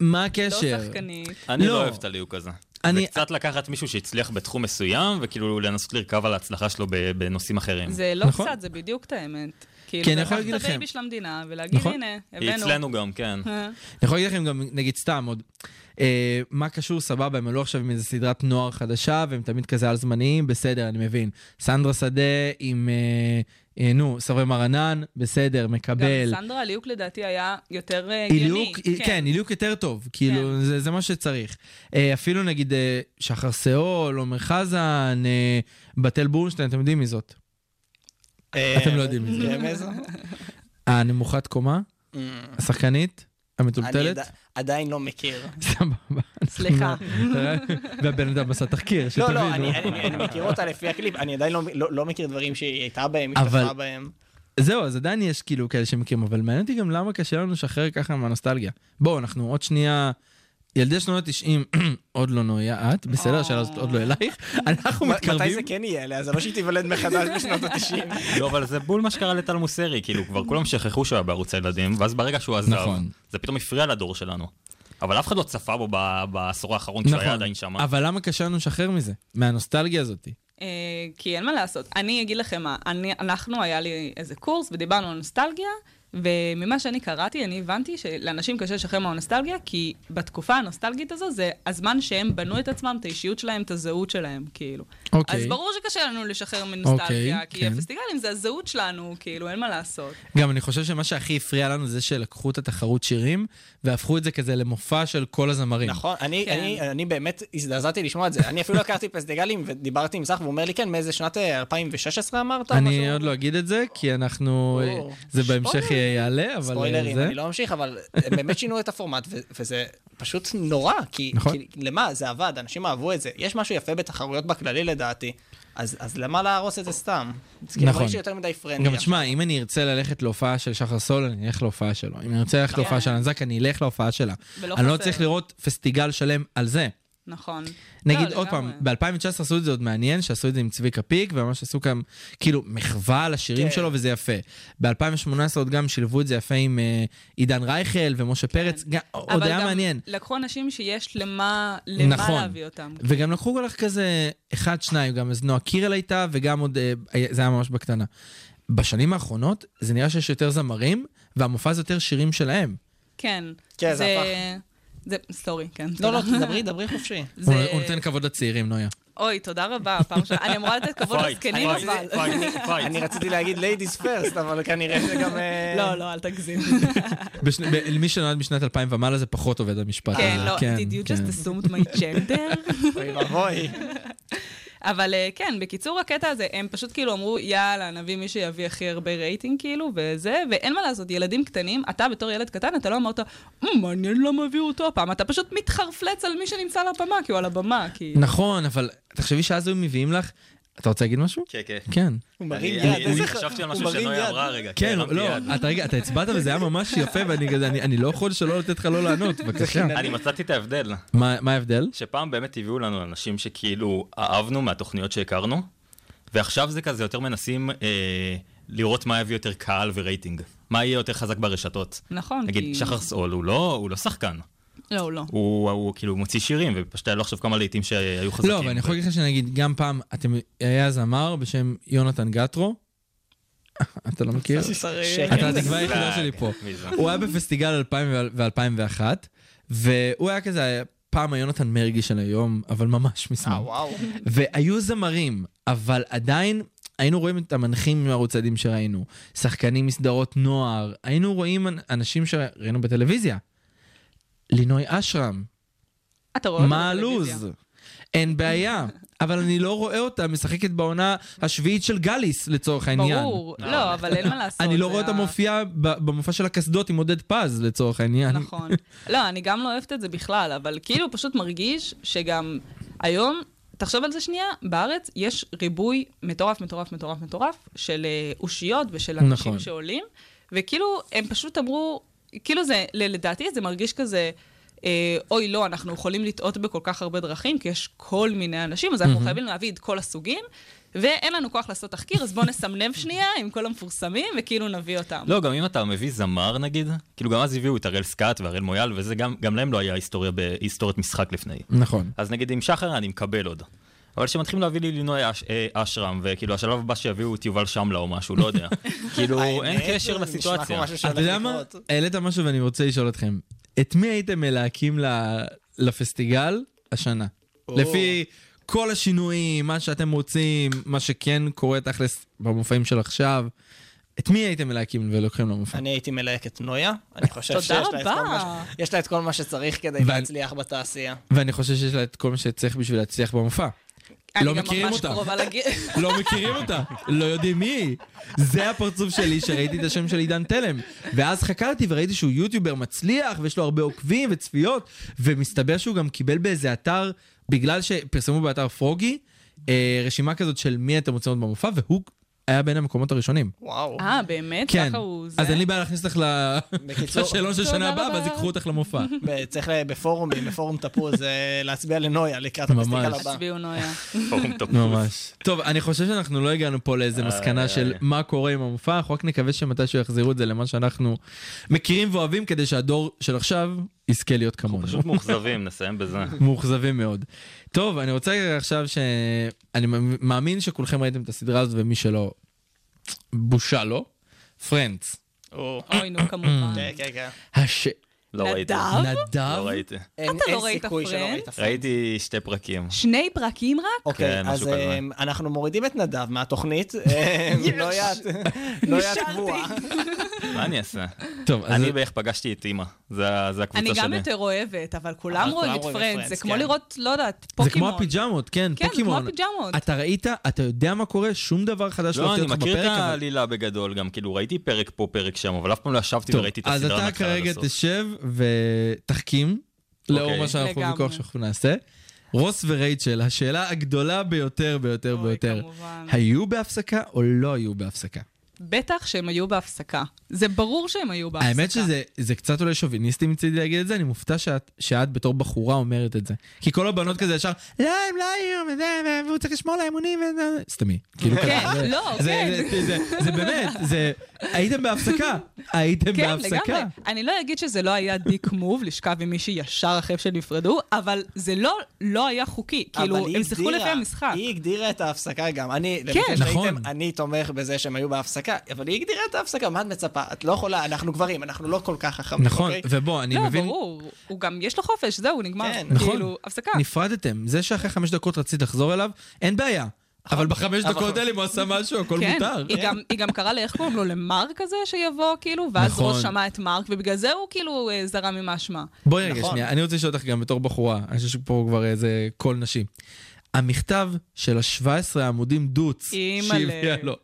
D: מה
G: כן, לא
D: הקשר?
G: שחקנית.
E: אני
D: לא.
E: לא אוהב את הליהוק הזה.
D: אני-
E: זה קצת לקחת מישהו שהצליח בתחום מסוים, וכאילו לנסות לרכב על ההצלחה שלו ב- בנושאים אחרים.
G: זה לא
D: נכון.
G: קצת, זה בדיוק את האמת.
D: כי
G: כאילו,
D: אני
G: זה
D: יכול
G: לקחת
D: להגיד
G: את
D: לכם-
G: הבייבי של המדינה ולהגיד,
D: נכון.
G: הנה,
E: היא
G: הבאנו.
E: אצלנו גם,
F: [laughs]
E: כן.
G: אה.
D: אני יכול להגיד לכם גם, נגיד סתם עוד, אה, מה קשור סבבה, הם עלו עכשיו עם איזה סדרת נוער חדשה, והם תמיד כזה על זמניים, בסדר, אני מבין. סנדרה שדה עם, אה, אה, נו, סברי מרנן, בסדר,
G: גם
D: מקבל.
G: סנדרה ליוק לדעתי היה יותר אה, הגיוני. כן.
D: הילוק, כן, הילוק יותר טוב, כאילו, זה, זה מה שצריך. אה, אפילו נגיד אה, שחר סאול, עומר חזן, אה, בתל בורנשטיין, אתם יודעים מי זאת.
F: אה,
D: אתם לא יודעים מי זה.
F: רמז?
D: הנמוכת קומה, השחקנית,
F: אני
D: המטולטלת.
F: עדי- עדיין לא מכיר.
D: סבבה.
G: כן,
D: [laughs]
G: סליחה.
D: נכון. והבן אדם עשה תחקיר,
F: לא,
D: שתבינו.
F: לא, אני- אני אני מכיר אותה לפי הקליפ, אני עדיין לא- לא לא מכיר דברים שהיא הייתה בהם,
D: אבל-
F: השתתפה בהם.
D: זהו, אז עדיין יש כאילו כאלה שמכירים, אבל מעניין אותי גם למה קשה לנו לשחרר ככה מהנוסטלגיה. בואו, אנחנו עוד שנייה... ילדי שנות ה-90, [clears throat] עוד לא נויה את, בסדר,
G: אה.
D: השאלה הזאת עוד לא אלייך, אנחנו
F: מתי זה
D: מתקרבים.
F: כן יהיה אליה? זה לא שהיא תיוולד מחדש בשנות ה-90.
E: לא, אבל זה בול מה שקרה לטל מוסרי, כאילו, כבר כולם שכחו שהוא היה בערוץ הילדים, ואז ברגע שהוא עזב,
D: נכון.
E: זה פתאום הפריע לדור שלנו. אבל אף אחד לא צפה בו ב- בעשור האחרון כשהוא היה
D: נכון,
E: לא, עדיין שם.
D: אבל למה קשה לנו לשחרר מזה? מהנוסטלגיה הזאת.
G: אה, כי אין מה לעשות. אני אגיד לכם מה, אני, אנחנו, היה לי איזה קורס ודיברנו על נוסטלגיה, וממה שאני קראתי, אני הבנתי שלאנשים קשה לשחרר מהנוסטלגיה, כי בתקופה הנוסטלגית הזו זה הזמן שהם בנו את עצמם, את האישיות שלהם, את הזהות שלהם, כאילו.
D: אוקיי.
G: אז ברור שקשה לנו לשחרר מנוסטלגיה,
D: אוקיי,
G: כי
D: כן.
G: הפסטיגלים זה הזהות שלנו, כאילו, אין מה לעשות.
D: גם אני חושב שמה שהכי הפריע לנו זה שלקחו את התחרות שירים, והפכו את זה כזה למופע של כל הזמרים.
F: נכון, אני,
G: כן.
F: אני, אני באמת הזדעזעתי לשמוע את זה. אני אפילו לא הכרתי פסטיגלים, ודיברתי עם סך, והוא אומר לי, כן, מאיזה שנת אה, 2016 אמרת?
D: אני
F: משהו?
D: עוד לא אגיד את זה, כי אנחנו...
F: או,
D: זה בהמשך יעלה, אבל... אה,
F: ספוילרים,
D: זה-
F: אני לא אמשיך, אבל הם באמת שינו את הפורמט, ו- וזה פשוט נורא, כי,
D: נכון.
F: כי למה? זה עבד, אנשים אהבו את זה. יש משהו יפה בתחרויות בכללי לדעתי, אז, אז למה להרוס את זה סתם?
D: נכון.
F: נכון. יש לי יותר מדי פרנדיה.
D: גם תשמע, אם אני ארצה ללכת להופעה של שחר סול, אני אלך להופעה שלו. אם אני ארצה ללכת להופעה של הנזק, אני אלך להופעה שלה.
G: ולא
D: אני לא
G: כן. חסר.
D: צריך לראות פסטיגל שלם על זה.
G: נכון.
D: נגיד,
G: לא,
D: עוד פעם,
G: לגמרי.
D: ב-2019 עשו את זה עוד מעניין, שעשו את זה עם צביקה פיק, וממש עשו כאן, כאילו, מחווה על השירים
F: כן.
D: שלו, וזה יפה. ב-2018 עוד גם שילבו את זה יפה עם אה, עידן רייכל ומשה פרץ, גם- עוד היה מעניין.
G: כן. אבל גם לקחו אנשים שיש למה, למה
D: נכון.
G: להביא אותם.
D: וגם לקחו כל כך כזה, אחד, שניים, גם אז נועה קירל הייתה, וגם עוד, אה, היה- זה היה ממש בקטנה. בשנים האחרונות, זה נראה שיש יותר זמרים, והמופע זה יותר שירים שלהם.
G: כן.
F: כן, זה
G: זה, סורי, כן.
F: לא, לא,
G: תודה.
F: דברי, דברי חופשי.
D: הוא
G: זה-
D: הוא נותן כבוד לצעירים, נויה.
G: אוי, תודה רבה, פעם ראשונה. אני אמורה לתת כבוד
E: פייט,
G: לזקנים,
E: פייט,
G: אבל...
E: פייט, פייט.
F: אני רציתי להגיד ladies first, אבל כנראה שגם... אה,
G: לא, לא, אל תגזים.
E: אה,
D: בש- ב- מי שנולד משנת 2000 ומעלה זה פחות עובד המשפט.
G: כן,
D: הזה.
G: לא, did you
D: כן.
G: just assume my gender?
F: אוי
G: [laughs]
F: ואבוי.
G: אבל אה, כן, בקיצור, הקטע הזה, הם פשוט כאילו אמרו, יאללה, נביא מי שיביא הכי הרבה רייטינג, כאילו, וזה, ואין מה לעשות, ילדים קטנים, אתה בתור ילד קטן, אתה לא אמרת, "מ, מעניין למה הביאו אותו הפעם, אתה פשוט מתחרפלץ על מי שנמצא על הבמה, כי הוא על הבמה, כי...
D: נכון, אבל תחשבי שאז היו מביאים לך... אתה רוצה להגיד משהו?
E: כן, כן.
D: כן.
F: הוא מרים
E: אני-
F: יד,
E: אני-
F: איזה [laughs]
E: אני
F: ח-
E: חשבתי על
F: הוא
E: משהו
F: מרים
E: שנויה
F: יד.
E: אמרה רגע.
D: כן,
E: הרמתי
D: לא,
E: יד.
D: אתה רגע, אתה הצבעת וזה היה ממש יפה, ואני כזה, אני- אני לא יכול שלא לתת לך לא לענות,
G: כן.
D: בבקשה.
E: אני מצאתי את ההבדל,
D: מה מה ההבדל?
E: שפעם באמת הביאו לנו אנשים שכאילו אהבנו מהתוכניות שהכרנו, ועכשיו זה כזה יותר מנסים אה, לראות מה יביא יותר קהל ורייטינג. מה יהיה יותר חזק ברשתות.
G: נכון, כי-
E: נגיד, שחר סול הוא לא הוא לא שחקן,
G: לא, הוא לא.
E: הוא הוא כאילו מוציא שירים, ופשוט היה לו עכשיו כמה להיטים שהיו חזקים.
D: לא, אבל אני יכול להגיד לך שנגיד, גם פעם, אתם, היה זמר בשם יונתן גטרו, [laughs] אתה לא
F: [laughs]
D: מכיר?
F: שקר.
D: אתה התקווה היחידה שלי פה.
E: כן. אה, מי זה?
D: הוא היה בפסטיגל 2000 ו-2001, והוא היה כזה, פעם היונתן מרגי של היום, אבל ממש
F: אה,
D: משמאל.
F: וואו.
D: והיו זמרים, אבל עדיין היינו רואים את המנחים מערוץ הילדים שראינו, שחקנים מסדרות נוער, היינו רואים אנ- אנשים שראינו בטלוויזיה. לינוי אשרם,
G: אתה רואה אותו
D: מה
G: בטלוויזיה.
D: הלו"ז? אין בעיה, אבל אני לא רואה אותה משחקת בעונה השביעית של גליס, לצורך העניין.
G: ברור, לא, אבל אין מה לעשות.
D: אני לא
G: זה
D: רואה אותה
G: ה-
D: מופיעה ב- במופע של הקסדות עם עודד פז, לצורך העניין.
G: נכון. לא, אני גם לא אוהבת את זה בכלל, אבל כאילו פשוט מרגיש שגם היום, תחשוב על זה שנייה, בארץ יש ריבוי מטורף, מטורף, מטורף, מטורף, של אה, אושיות ושל אנשים
D: נכון.
G: שעולים, וכאילו, הם פשוט אמרו, כאילו זה, ל- לדעתי זה מרגיש כזה... אה, אוי, לא, אנחנו יכולים לטעות בכל כך הרבה דרכים, כי יש כל מיני אנשים, אז אנחנו חייבים להביא את כל הסוגים, ואין לנו כוח לעשות תחקיר, אז בואו נסמנב שנייה עם כל המפורסמים, וכאילו נביא אותם.
E: לא, גם אם אתה מביא זמר נגיד, כאילו גם אז הביאו את הראל סקאט והראל מויאל, וזה גם, גם להם לא היה היסטוריה בהיסטוריית משחק לפני.
D: נכון.
E: אז נגיד עם שחר אני מקבל עוד. אבל כשמתחילים להביא לי לינוי אש, אה, אשרם, וכאילו השלב הבא שיביאו את יובל שמלה או משהו,
D: [laughs]
E: לא יודע. כאילו אין
F: האמת,
E: קשר
F: זה נשמע כמו
E: לסיטואציה. [laughs]
F: משהו שהולך
D: אתה יודע מה?
F: לקרות.
D: העלית משהו ואני רוצה לשאול אתכם. את מי הייתם מלהקים ל- לפסטיגל השנה? לפי כל השינויים, מה שאתם רוצים, מה שכן קורה תכלס במופעים של עכשיו. את מי הייתם מלהקים ולוקחים למופע?
F: אני הייתי מלהק את נויה,
G: [laughs]
F: אני חושב
G: תודה
F: שיש לה את כל
G: רבה.
F: מה ש- יש לה את כל מה שצריך כדי
D: ואני-
F: להצליח בתעשייה.
D: ואני חושב שיש לה את כל מה שצריך בשביל להצליח במופע. לא מכירים אותה.
G: אני גם ממש קרובה [laughs] לגיל...
D: לא מכירים אותה, לא יודעים מי היא. זה הפרצוף שלי שראיתי את השם של עידן תלם. ואז חקרתי וראיתי שהוא יוטיובר מצליח, ויש לו הרבה עוקבים וצפיות, ומסתבר שהוא גם קיבל באיזה אתר, בגלל שפרסמו באתר פרוגי, אה, רשימה כזאת של מי אתם רוצים להיות במופע, והוא היה בין המקומות הראשונים.
F: וואו.
G: אה, באמת?
D: כן.
G: ככה הוא זה?
D: אז אין לי בעיה להכניס אותך ל-
F: בקיצור-
D: לשאלון של שנה
G: תודה
D: הבאה, ואז
G: רבה.
D: ייקחו אותך למופע.
F: ב- צריך ל- בפורומים, בפורום תפוז, אה, להצביע לנויה לקראת הפסטיגל
D: ממש.
F: הבא.
G: הצביעו נויה.
E: פורום טופוס.
D: ממש. טוב, אני חושב שאנחנו לא הגענו פה לאיזה מסקנה של מה קורה עם המופע, אנחנו רק נקווה שמתישהו יחזירו את זה למה שאנחנו מכירים ואוהבים, כדי שהדור של עכשיו יזכה להיות כמונו.
E: פשוט מאוכזבים, נסיים בזה.
D: מאוכזבים מאוד. טוב, אני רוצה רגע עכשיו ש... אני מאמין שכולכם ראיתם את הסדרה הזאת, ומי שלא, בושה לו. פרנדס.
F: או.
G: אוי, נו, כמובן.
F: כן, כן, כן.
D: הש...
E: לא ראיתי.
G: נדב?
D: נדב?
E: לא ראיתי.
F: אין-
G: אתה לא
F: אין
G: ראית
F: סיכוי שלא
G: פרנד?
F: ראית פרנד.
E: ראיתי שתי פרקים.
G: שני פרקים רק?
F: אוקיי,
E: כן,
F: אז
E: משהו כזה.
F: אמ, אנחנו מורידים את נדב מהתוכנית.
G: [laughs]
F: אמ, לא יד- לא יד קבועה.
E: [laughs] מה אני אעשה?
D: טוב, אז...
E: אני בערך פגשתי את אימא. זה זה
G: אני
E: הקבוצה שלי.
G: גם יותר אוהבת, אבל כולם
F: אבל
G: רואים
F: אה, כולם
G: את
F: רואים את
G: פרנדס.
F: פרנדס,
G: זה כמו
F: כן.
G: לראות, לא יודעת,
D: זה כמו
G: פוקימון.
D: הפיג'מות, כן,
G: כן, זה
D: פוקימון.
G: כמו הפיג'מות.
D: אתה ראית, אתה יודע מה קורה, שום דבר חדש
E: לא,
D: הפתיע
E: אני
D: אותך
E: מכיר את
D: בפרק, אבל-
E: העלילה בגדול גם, כאילו ראיתי פרק פה, פרק שם, אבל אף פעם לא ישבתי
D: טוב,
E: וראיתי את
D: אז
E: הסדרה
D: אתה
E: מההתחלה עד
D: כרגע
E: הסוף.
D: תשב ותחכים, לאור
E: אוקיי.
D: מה שאנחנו
G: לגמרי.
D: בכוח שאנחנו נעשה. רוס ורייצ'ל, השאלה הגדולה ביותר ביותר
G: אוי,
D: ביותר.
G: כמובן.
D: היו בהפסקה או לא היו בהפסקה?
G: בטח שהם היו בהפסקה. זה ברור שהם היו בהפסקה.
D: האמת שזה זה קצת אולי שוביניסטי מצידי להגיד את זה, אני מופתע שאת, שאת בתור בחורה אומרת את זה. כי כל הבנות כזה ישר, לא, הם לא היו, וזה, והוא צריך לשמור על האמונים, וזה, סתמי. כאילו
G: כן,
D: כזה, זה-
G: לא,
D: זה-
G: כן.
D: זה- זה- זה- זה באמת, זה, הייתם בהפסקה, הייתם
G: כן,
D: בהפסקה.
G: לגמרי. אני לא אגיד שזה לא היה דיק מוב, לשכב עם מישהי ישר אחרי שנפרדו, אבל זה לא, לא היה חוקי. כאילו,
F: אבל היא
G: הם שיחקו
F: הגדירה-
G: לפי המשחק.
F: היא הגדירה את ההפסקה גם. אני, כן,
D: נכון.
F: נכון. אני תומך בזה שהם היו בהפסקה, אבל היא הגדירה את ההפסקה, מה את מצפה? את לא יכולה, אנחנו גברים, אנחנו לא כל כך חכמים,
D: נכון,
F: אוקיי?
D: ובוא, אני
G: לא,
D: מבין,
G: ברור. הוא גם, יש לו חופש, זהו, נגמר.
F: כן.
D: נכון.
G: כאילו, הפסקה.
D: נפרדתם. זה שאחרי חמש דקות רצית לחזור אליו, אין בעיה. אבל בחמש
F: אבל-
D: דקות האלה אם הוא עשה משהו, הכל
G: נכון. כן,
D: מותר.
G: היא גם, היא גם קראה לאיך קוראים לו, למרק הזה שיבוא, כאילו, ואז
D: נכון.
G: רוס שמע את מרק, ובגלל זה הוא כאילו אה, זרם עם האשמה.
D: בואי רגע,
F: נכון.
D: שנייה, אני רוצה לשאול אותך גם בתור בחורה, אני חושב שפה כבר איזה קול נשי. המכתב של ה-17 עמודים דוץ,
G: אימא'לה.
D: שהביאה לו,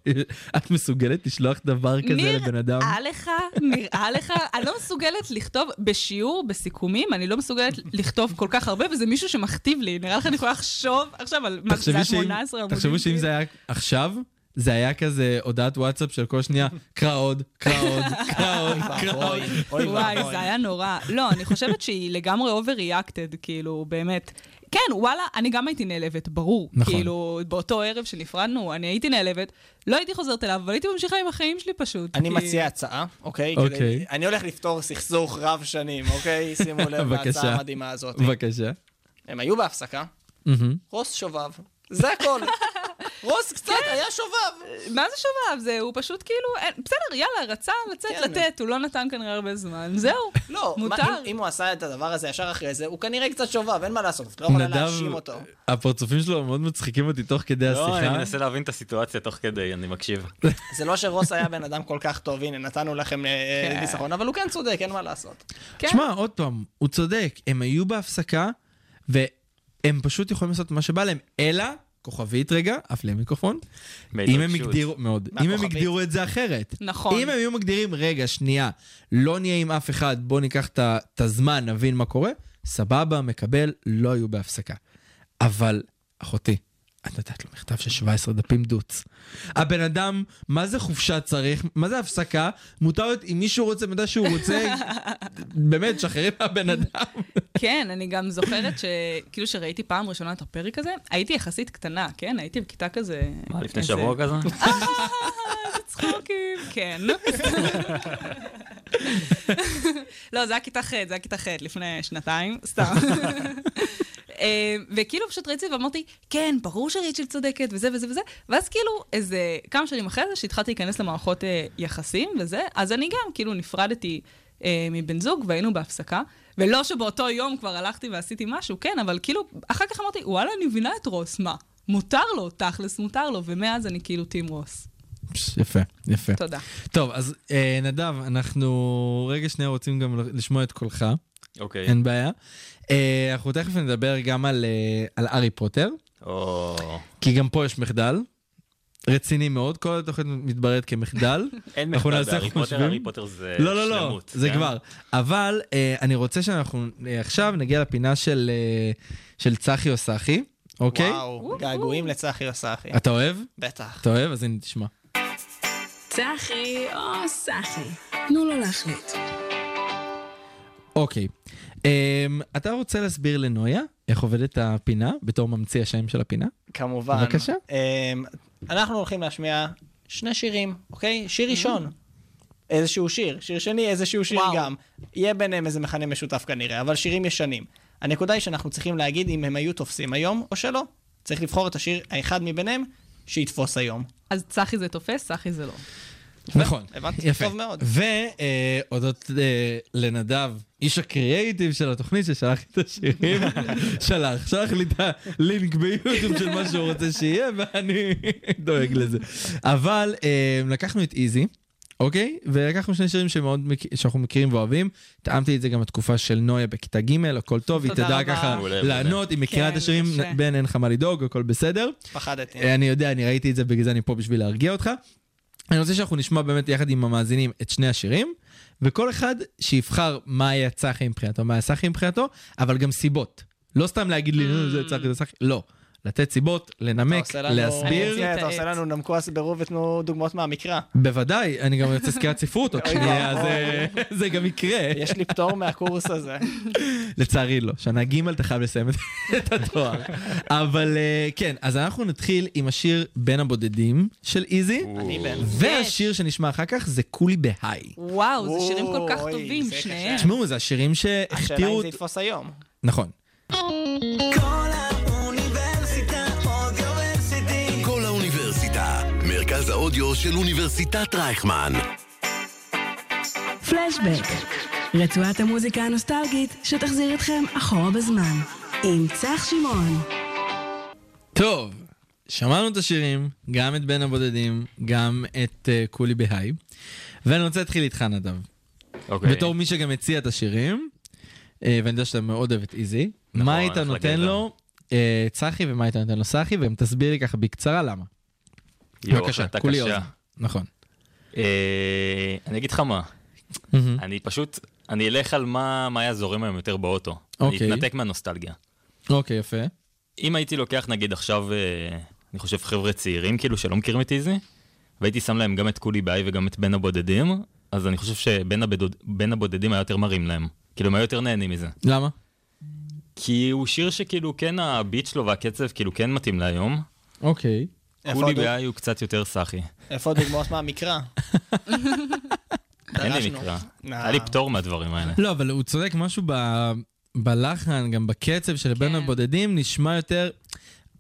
D: את מסוגלת לשלוח דבר כזה לבן אדם?
G: נראה לך, נראה לך, אני לא מסוגלת לכתוב בשיעור, בסיכומים, אני לא מסוגלת לכתוב כל כך הרבה, וזה מישהו שמכתיב לי. נראה לך אני יכולה לחשוב עכשיו על מה זה,
D: תחשבי
G: היה
D: שאם-
G: 18 עמודים? כאילו.
D: תחשבו שאם זה היה עכשיו, זה היה כזה הודעת וואטסאפ של כל שנייה, קרא עוד, קרא
F: [laughs]
D: עוד, קרא עוד, קרא עוד.
F: אוי, אוי
G: וואי,
F: ואבוי.
G: זה היה נורא. לא, אני חושבת שהיא לגמרי overreacted, כאילו, באמת. כן, וואלה, אני גם הייתי נעלבת, ברור.
D: נכון.
G: כאילו, באותו ערב שנפרדנו, אני הייתי נעלבת, לא הייתי חוזרת אליו, אבל הייתי ממשיכה עם החיים שלי פשוט.
D: [laughs]
F: אני
G: כי-
F: מציע הצעה, אוקיי?
D: אוקיי.
F: כדי- אני הולך לפתור סכסוך רב שנים,
D: [laughs]
F: אוקיי? שימו לב להצעה
D: בבקשה.
F: המדהימה הזאת.
D: בבקשה.
F: הם היו בהפסקה,
D: מהמם.
F: רוס שובב. זה הכל.
G: [laughs]
F: רוס קצת
G: כן.
F: היה שובב.
G: מה זה שובב? זה, הוא פשוט כאילו, אין, בסדר, יאללה, רצה לצאת
F: כן.
G: לתת, הוא לא נתן כנראה הרבה זמן, זהו,
F: לא, מה-
G: מותר.
F: אם- אם הוא עשה את הדבר הזה ישר אחרי זה, הוא כנראה קצת שובב, אין מה לעשות, את לא יכולה להאשים אותו.
D: הפרצופים שלו מאוד מצחיקים אותי תוך כדי
E: לא, אני
D: השיחה.
E: מנסה להבין את הסיטואציה תוך כדי, אני
D: [laughs]
E: מקשיב.
F: זה לא שרוס היה בן אדם כל כך טוב, הנה, נתנו לכם אה,
G: כן.
F: ניצחון, אבל הוא כן צודק, אין מה לעשות.
G: כן.
D: תשמע, עוד פעם, הוא צודק, הם היו בהפסקה, והם פשוט יכולים לעשות מה שבא להם, אלא, כוכבית רגע, אף למיקרופון, אם הם
E: בהתרגשות.
D: הגדירו, מאוד, אם הם
F: כוכבית?
D: הגדירו את זה אחרת.
G: נכון.
D: אם הם היו מגדירים, רגע, שנייה, לא נהיה עם אף אחד, בוא ניקח את ה- את הזמן, נבין מה קורה, סבבה, מקבל, לא היו בהפסקה. אבל, אחותי, את נתת לו מכתב של 17 דפים דוץ. הבן אדם, מה זה חופשה צריך? מה זה הפסקה? מותר להיות אם מישהו רוצה, מתי שהוא רוצה, באמת, שחררי מהבן אדם.
G: כן, אני גם זוכרת שכאילו שראיתי פעם ראשונה את הפרק הזה, הייתי יחסית קטנה, כן? הייתי בכיתה כזה...
E: מה, לפני
G: איזה-
E: שבוע כזה?
G: צחוקים, [laughs] כן. לא, זה היה כיתה ח', זה היה כיתה ח' לפני שנתיים, סתם. אה, וכאילו פשוט ראיתי את זה ואמרתי, כן, ברור שריצ'ל צודקת, וזה וזה וזה, ואז כאילו איזה כמה שנים אחרי זה, שהתחלתי להיכנס למערכות אה, יחסים וזה, אז אני גם כאילו נפרדתי אה, מבן זוג והיינו בהפסקה, ולא שבאותו יום כבר הלכתי ועשיתי משהו, כן, אבל כאילו, אחר כך אמרתי, וואלה, אני מבינה את רוס, מה? מותר לו, תכלס מותר לו, ומאז אני כאילו טים רוס.
D: יפה, יפה.
G: תודה.
D: טוב, אז אה, נדב, אנחנו רגע שנייה רוצים גם לשמוע את קולך.
E: אוקיי.
D: אין בעיה. אה, אנחנו תכף נדבר גם על, אה, על הארי פוטר,
E: או...
D: כי גם פה יש מחדל. רציני מאוד, כל התוכנית מתבררת
E: [laughs]
D: כמחדל.
E: אין
D: אנחנו
E: מחדל
D: נעשה
E: בהארי פוטר,
D: חושבים.
E: הארי פוטר זה
D: לא, לא, לא,
E: אה, שלמות,
D: זה
E: כן?
D: כבר. אבל אה, אני רוצה שאנחנו אה, עכשיו נגיע לפינה של, אה, של צחי או סחי, אוקיי?
F: וואו, געגועים לצחי אוסחי.
D: אתה אוהב?
F: בטח.
D: אתה אוהב? אז הנה, תשמע.
C: צחי או סחי? תנו לו להחליט.
D: אוקיי. אה, אתה רוצה להסביר לנויה איך עובדת הפינה, בתור ממציא השם של הפינה?
F: כמובן.
D: בבקשה.
F: אמ, אנחנו הולכים להשמיע שני שירים, אוקיי? שיר ראשון. איזשהו שיר, שיר שני, איזשהו שיר
G: וואו.
F: גם. יהיה ביניהם איזה מכנה משותף כנראה, אבל שירים ישנים. הנקודה היא שאנחנו צריכים להגיד אם הם היו תופסים היום או שלא. צריך לבחור את השיר האחד מביניהם שיתפוס היום.
G: אז צחי זה תופס, צחי זה לא.
D: נכון,
F: הבנתי,
D: יפה.
F: טוב מאוד.
D: והודות אה, לנדב, איש הקריאייטיב של התוכנית ששלח לי את השירים, שלח, שלח לי את הלינק ביוטיוב של מה שהוא רוצה שיהיה, ואני [laughs] דואג לזה. אבל אה, לקחנו את איזי, אוקיי? ולקחנו שני שירים שמאוד מכ- שאנחנו מכירים ואוהבים. טעמתי את זה גם בתקופה של נויה בכיתה ג', הכל טוב, היא
G: תודה
D: תדע
G: רבה.
D: ככה
E: מעולה, מעולה.
D: לענות, היא מכירה את
G: כן,
D: השירים,
G: יפה.
D: בן אין לך מה לדאוג, הכל בסדר.
F: פחדתי.
D: אה, אני יודע, אני ראיתי את זה, בגלל זה אני פה בשביל להרגיע אותך. אני רוצה שאנחנו נשמע באמת יחד עם המאזינים את שני השירים, וכל אחד שיבחר מה יצא הכי מבחינתו, מה יצא הכי מבחינתו, אבל גם סיבות. לא סתם להגיד לי, "אה, זה יצא הכי, זה יצא הכי, לא. לתת סיבות, לנמק,
F: אתה עושה לנו-
D: להסביר.
G: אני
F: כן, אתה עושה לנו נמקו הסברו ותנו דוגמאות מהמקרא.
D: בוודאי, אני גם רוצה סקירת
F: [laughs]
D: ספרות עוד
F: אוי
D: שנייה, אז
F: ואבוי.
D: אה, זה גם יקרה.
F: לא. יש לי [laughs] פטור מהקורס הזה.
D: לצערי לא. שנה ג' אתה חייב לסיים את- [laughs] את התואר. אבל אה, כן, אז אנחנו נתחיל עם השיר בין הבודדים של איזי.
F: אני בן.
E: כן.
D: והשיר שנשמע אחר כך זה כולי בהיי.
G: וואו, זה שירים כל כך
F: אוי,
G: טובים,
F: זה קשה.
G: שניהם.
D: תשמעו, זה השירים
F: השאלה
D: שהכתירו...
F: אם זה יתפוס היום.
D: נכון.
A: כל האוניברסיטה, מרכז האודיו של אוניברסיטת רייכמן.
C: פלשבק, רצועת המוזיקה הנוסטלגית שתחזיר אתכם אחורה בזמן, עם צח שמעון.
D: טוב, שמענו את השירים, גם את בין הבודדים, גם את אה, כולי בהיי. ואני רוצה להתחיל איתך, נדב.
E: אוקיי.
D: בתור מי שגם הציע את השירים, אה, ואני יודע שאתה מאוד אוהב את איזי,
E: נכון,
D: מה היית
E: אחלה
D: נותן
E: גבר.
D: לו, אה, צחי, ומה היית נותן לו סחי, וגם תסביר לי ככה בקצרה למה.
E: יואו,
D: בבקשה,
E: החלטה
D: כולי
E: קשה.
D: אוזן. נכון.
E: אה, אני אגיד לך מה, אני פשוט, אני אלך על מה מה היה זורם היום יותר באוטו. אני
D: אוקיי.
E: אתנתק מהנוסטלגיה.
D: אוקיי, יפה.
E: אם הייתי לוקח נגיד עכשיו, אה, אני חושב חבר'ה צעירים כאילו שלא מכירים את איזי, והייתי שם להם גם את קולי באי וגם את בין הבודדים, אז אני חושב שבין הבדוד- בין הבודדים היה יותר מרים להם. כאילו הם היו יותר נהנים מזה.
D: למה?
E: כי הוא שיר שכאילו כן הביט שלו והקצב כאילו כן מתאים להיום.
D: אוקיי.
F: איפה
E: קולי
F: הדוג-
E: באי הוא קצת יותר סאחי.
F: איפה הדוגמאות מהמקרא?
E: אין לי
F: דרשנו.
E: מקרא.
F: נא.
E: היה לי פטור מהדברים האלה.
D: לא, אבל הוא צודק, משהו ב... בלחן, גם בקצב של בין
G: כן.
D: הבודדים, נשמע יותר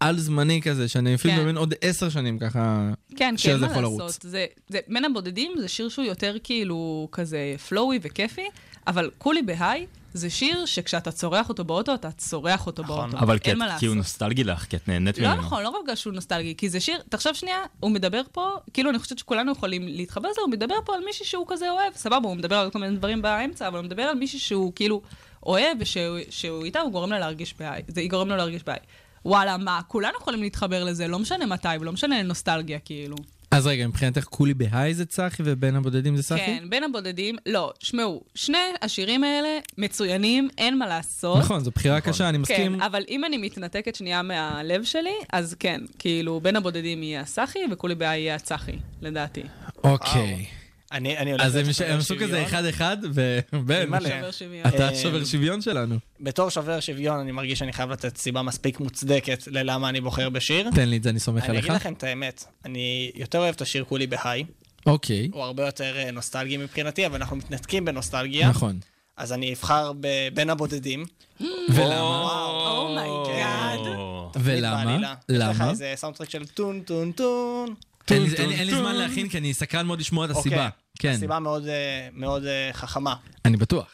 D: על זמני כזה, שאני אפילו
G: כן.
D: מבין עוד עשר שנים ככה,
G: כן,
D: שזה
G: כן, מה
D: יכול
G: לעשות.
D: לרוץ.
G: זה, זה, בין הבודדים זה שיר שהוא יותר כאילו כזה פלואי וכיפי, אבל כולי בהיי זה שיר שכשאתה צורח אותו באוטו, אתה צורח אותו
F: נכון.
G: באוטו.
E: אבל
G: אין
E: כי את-
G: מה
E: כי הוא
G: לעשות.
E: נוסטלגי לך, כי את נהנית ממנו.
G: לא נכון, לא רק בגלל שהוא נוסטלגי, כי זה שיר, תחשוב שנייה, הוא מדבר פה, כאילו אני חושבת שכולנו יכולים להתחבר לזה, הוא מדבר פה על מישהי שהוא כזה אוהב, סבבה, הוא מדבר על כל מיני דברים באמצע, אבל הוא מדבר על מישהי שהוא כאילו אוהב, ושהוא שהוא איתה, הוא גורם לה להרגיש בעי, זה גורם לו להרגיש בעי. וואלה, מה, כולנו יכולים להתחבר לזה, לא משנה מתי, ולא משנה נוסטלגיה, כאילו.
D: אז רגע, מבחינתך כולי בהיי זה צחי ובין הבודדים זה צחי?
G: כן, בין הבודדים, לא, שמעו, שני השירים האלה מצוינים, אין מה לעשות.
D: נכון, זו בחירה קשה, אני מסכים.
G: לא. כן, אבל אם אני מתנתקת שנייה מהלב שלי, אז כן, כאילו, בין הבודדים יהיה הסחי, וכולי בעיה יהיה הצחי,
F: Oh
G: לדעתי.
D: אוקיי.
F: אני אני הולך...
D: אז הם
F: להיות
D: ש-
F: שובר
D: הם עשו כזה
F: שוויון.
D: אחד-אחד, ובן,
F: אימא'לה.
G: שובר שוויון. אה.
D: אתה
F: אה,
D: השובר שוויון שלנו.
F: בתור שובר שוויון, אני מרגיש שאני חייב לתת סיבה מספיק מוצדקת ללמה אני בוחר בשיר.
D: תן לי את זה, אני סומך
F: אני
D: עליך.
F: אגיד לכם את האמת, אני יותר אוהב את השיר כולי בהיי,
D: אוקיי,
F: הוא הרבה יותר אה, נוסטלגי מבחינתי, אבל אנחנו מתנתקים בנוסטלגיה.
D: נכון.
F: אז אני אבחר בבין הבודדים.
D: [gasps] ולמה?
G: אומייגאד.
E: או,
D: ולמה?
F: לא. יש לך
D: למה?
F: איזה סאונדטרק של טון טון טון.
D: אין לי- אין לי- אין לי זמן להכין, כי אני סקרן מאוד לשמוע את הסיבה. כן,
F: סיבה אוקיי. מאוד אה, מאוד אה, חכמה.
D: אני בטוח.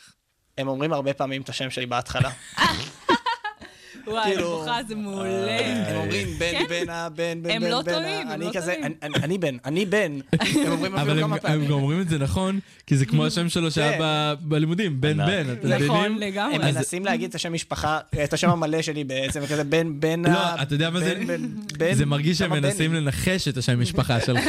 F: הם אומרים הרבה פעמים את השם שלי
D: [laughs]
F: בהתחלה.
G: וואי,
F: כאילו- אוקיי.
G: נבוכה זה מעולה.
F: הם אומרים בן, בן, אה, בן, בן,
G: כן. הם
F: בן,
G: לא
F: בן,
G: טועים,
F: אה,
G: הם
F: אני
G: לא
F: כזה,
G: טועים.
F: אני- אני אני בן, אני בן. הם
G: [laughs]
F: אומרים
D: אבל
F: אפילו
D: הם
F: כמה
D: הם גם
F: פעמים.
D: אומרים את זה נכון, כי זה כמו השם שלו שהיה
F: כן.
D: ב- בלימודים, בן
E: ענק.
D: בן, אתם מבינים?
G: נכון, [laughs] לגמרי.
F: הם מנסים להגיד את השם משפחה, את השם המלא שלי בעצם, וכזה בן, בן,
D: לא,
F: אה,
D: אתה יודע מה זה?
F: בן, בן, בן,
D: זה מרגיש שהם
F: כמה
D: מנסים
F: בנים.
D: לנחש את השם משפחה שלך,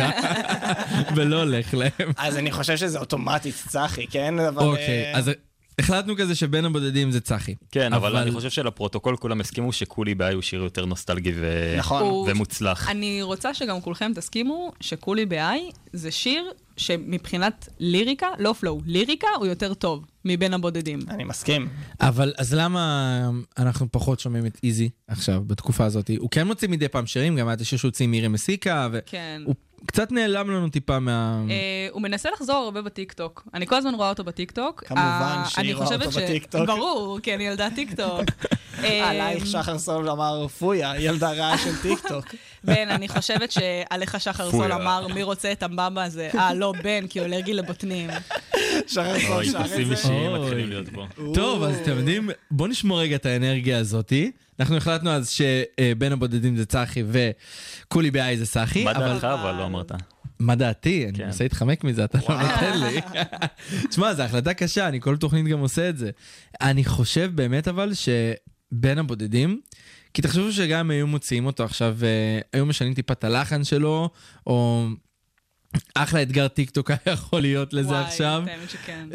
D: ולא הולך להם.
F: אז אני חושב שזה אוטומטית, צחי, כן? אבל,
D: אוקיי,
F: אה,
D: אז החלטנו כזה שבין הבודדים זה צחי.
E: כן, אבל אני חושב שלפרוטוקול כולם הסכימו שכולי באי הוא שיר יותר נוסטלגי ו-
F: נכון.
G: הוא-
E: ומוצלח.
G: אני רוצה שגם כולכם תסכימו שכולי בעי זה שיר שמבחינת ליריקה, לא פלואו, ליריקה הוא יותר טוב מבין הבודדים.
F: אני מסכים.
D: אבל אז למה אנחנו פחות שומעים את איזי עכשיו, בתקופה הזאת? הוא כן מוציא מדי פעם שירים, גם היה את השיר שהוא הוציא עם מירי מסיקה,
G: כן.
D: והוא קצת נעלם לנו טיפה מה...
G: אה, הוא מנסה לחזור הרבה בטיקטוק. אני כל הזמן רואה אותו בטיקטוק.
F: כמובן
G: אה,
F: שהיא
G: אני
F: רואה
G: חושבת
F: אותו
G: ש-
F: בטיקטוק.
G: ברור, כי אני ילדת טיקטוק.
F: [laughs]
G: אה,
F: עלייך שחר סול אמר, פויה, ילדה רעה של
E: [laughs]
F: טיקטוק.
G: בן, אני חושבת שעליך שחר סול
E: פויה.
G: אמר, מי רוצה את המבמבה הזה? אה, לא, בן, כי הוא אלרגי לבוטנים.
F: שחר סול
E: אוי,
F: שר את
E: פסים
F: זה.
E: אישיים
D: אוי.
E: לא מתחילים להיות פה.
D: טוב, אז אתם יודעים, בואו נשמור רגע את האנרגיה הזאתי. אנחנו החלטנו אז שבין הבודדים זה צחי וקולי ביי זה סחי,
E: מה
D: אבל
E: דעתך אבל לא אמרת.
D: מה דעתי? אני
E: כן.
D: מנסה להתחמק מזה, אתה לא נותן לי. תשמע, זו החלטה קשה, אני כל תוכנית גם עושה את זה. אני חושב באמת אבל שבין הבודדים, כי תחשבו שגם אם היו מוציאים אותו עכשיו, אה, היו משנים טיפה את הלחן שלו, או אחלה אתגר טיקטוק [laughs] היה יכול להיות לזה עכשיו.
G: וואי, האמת שכן.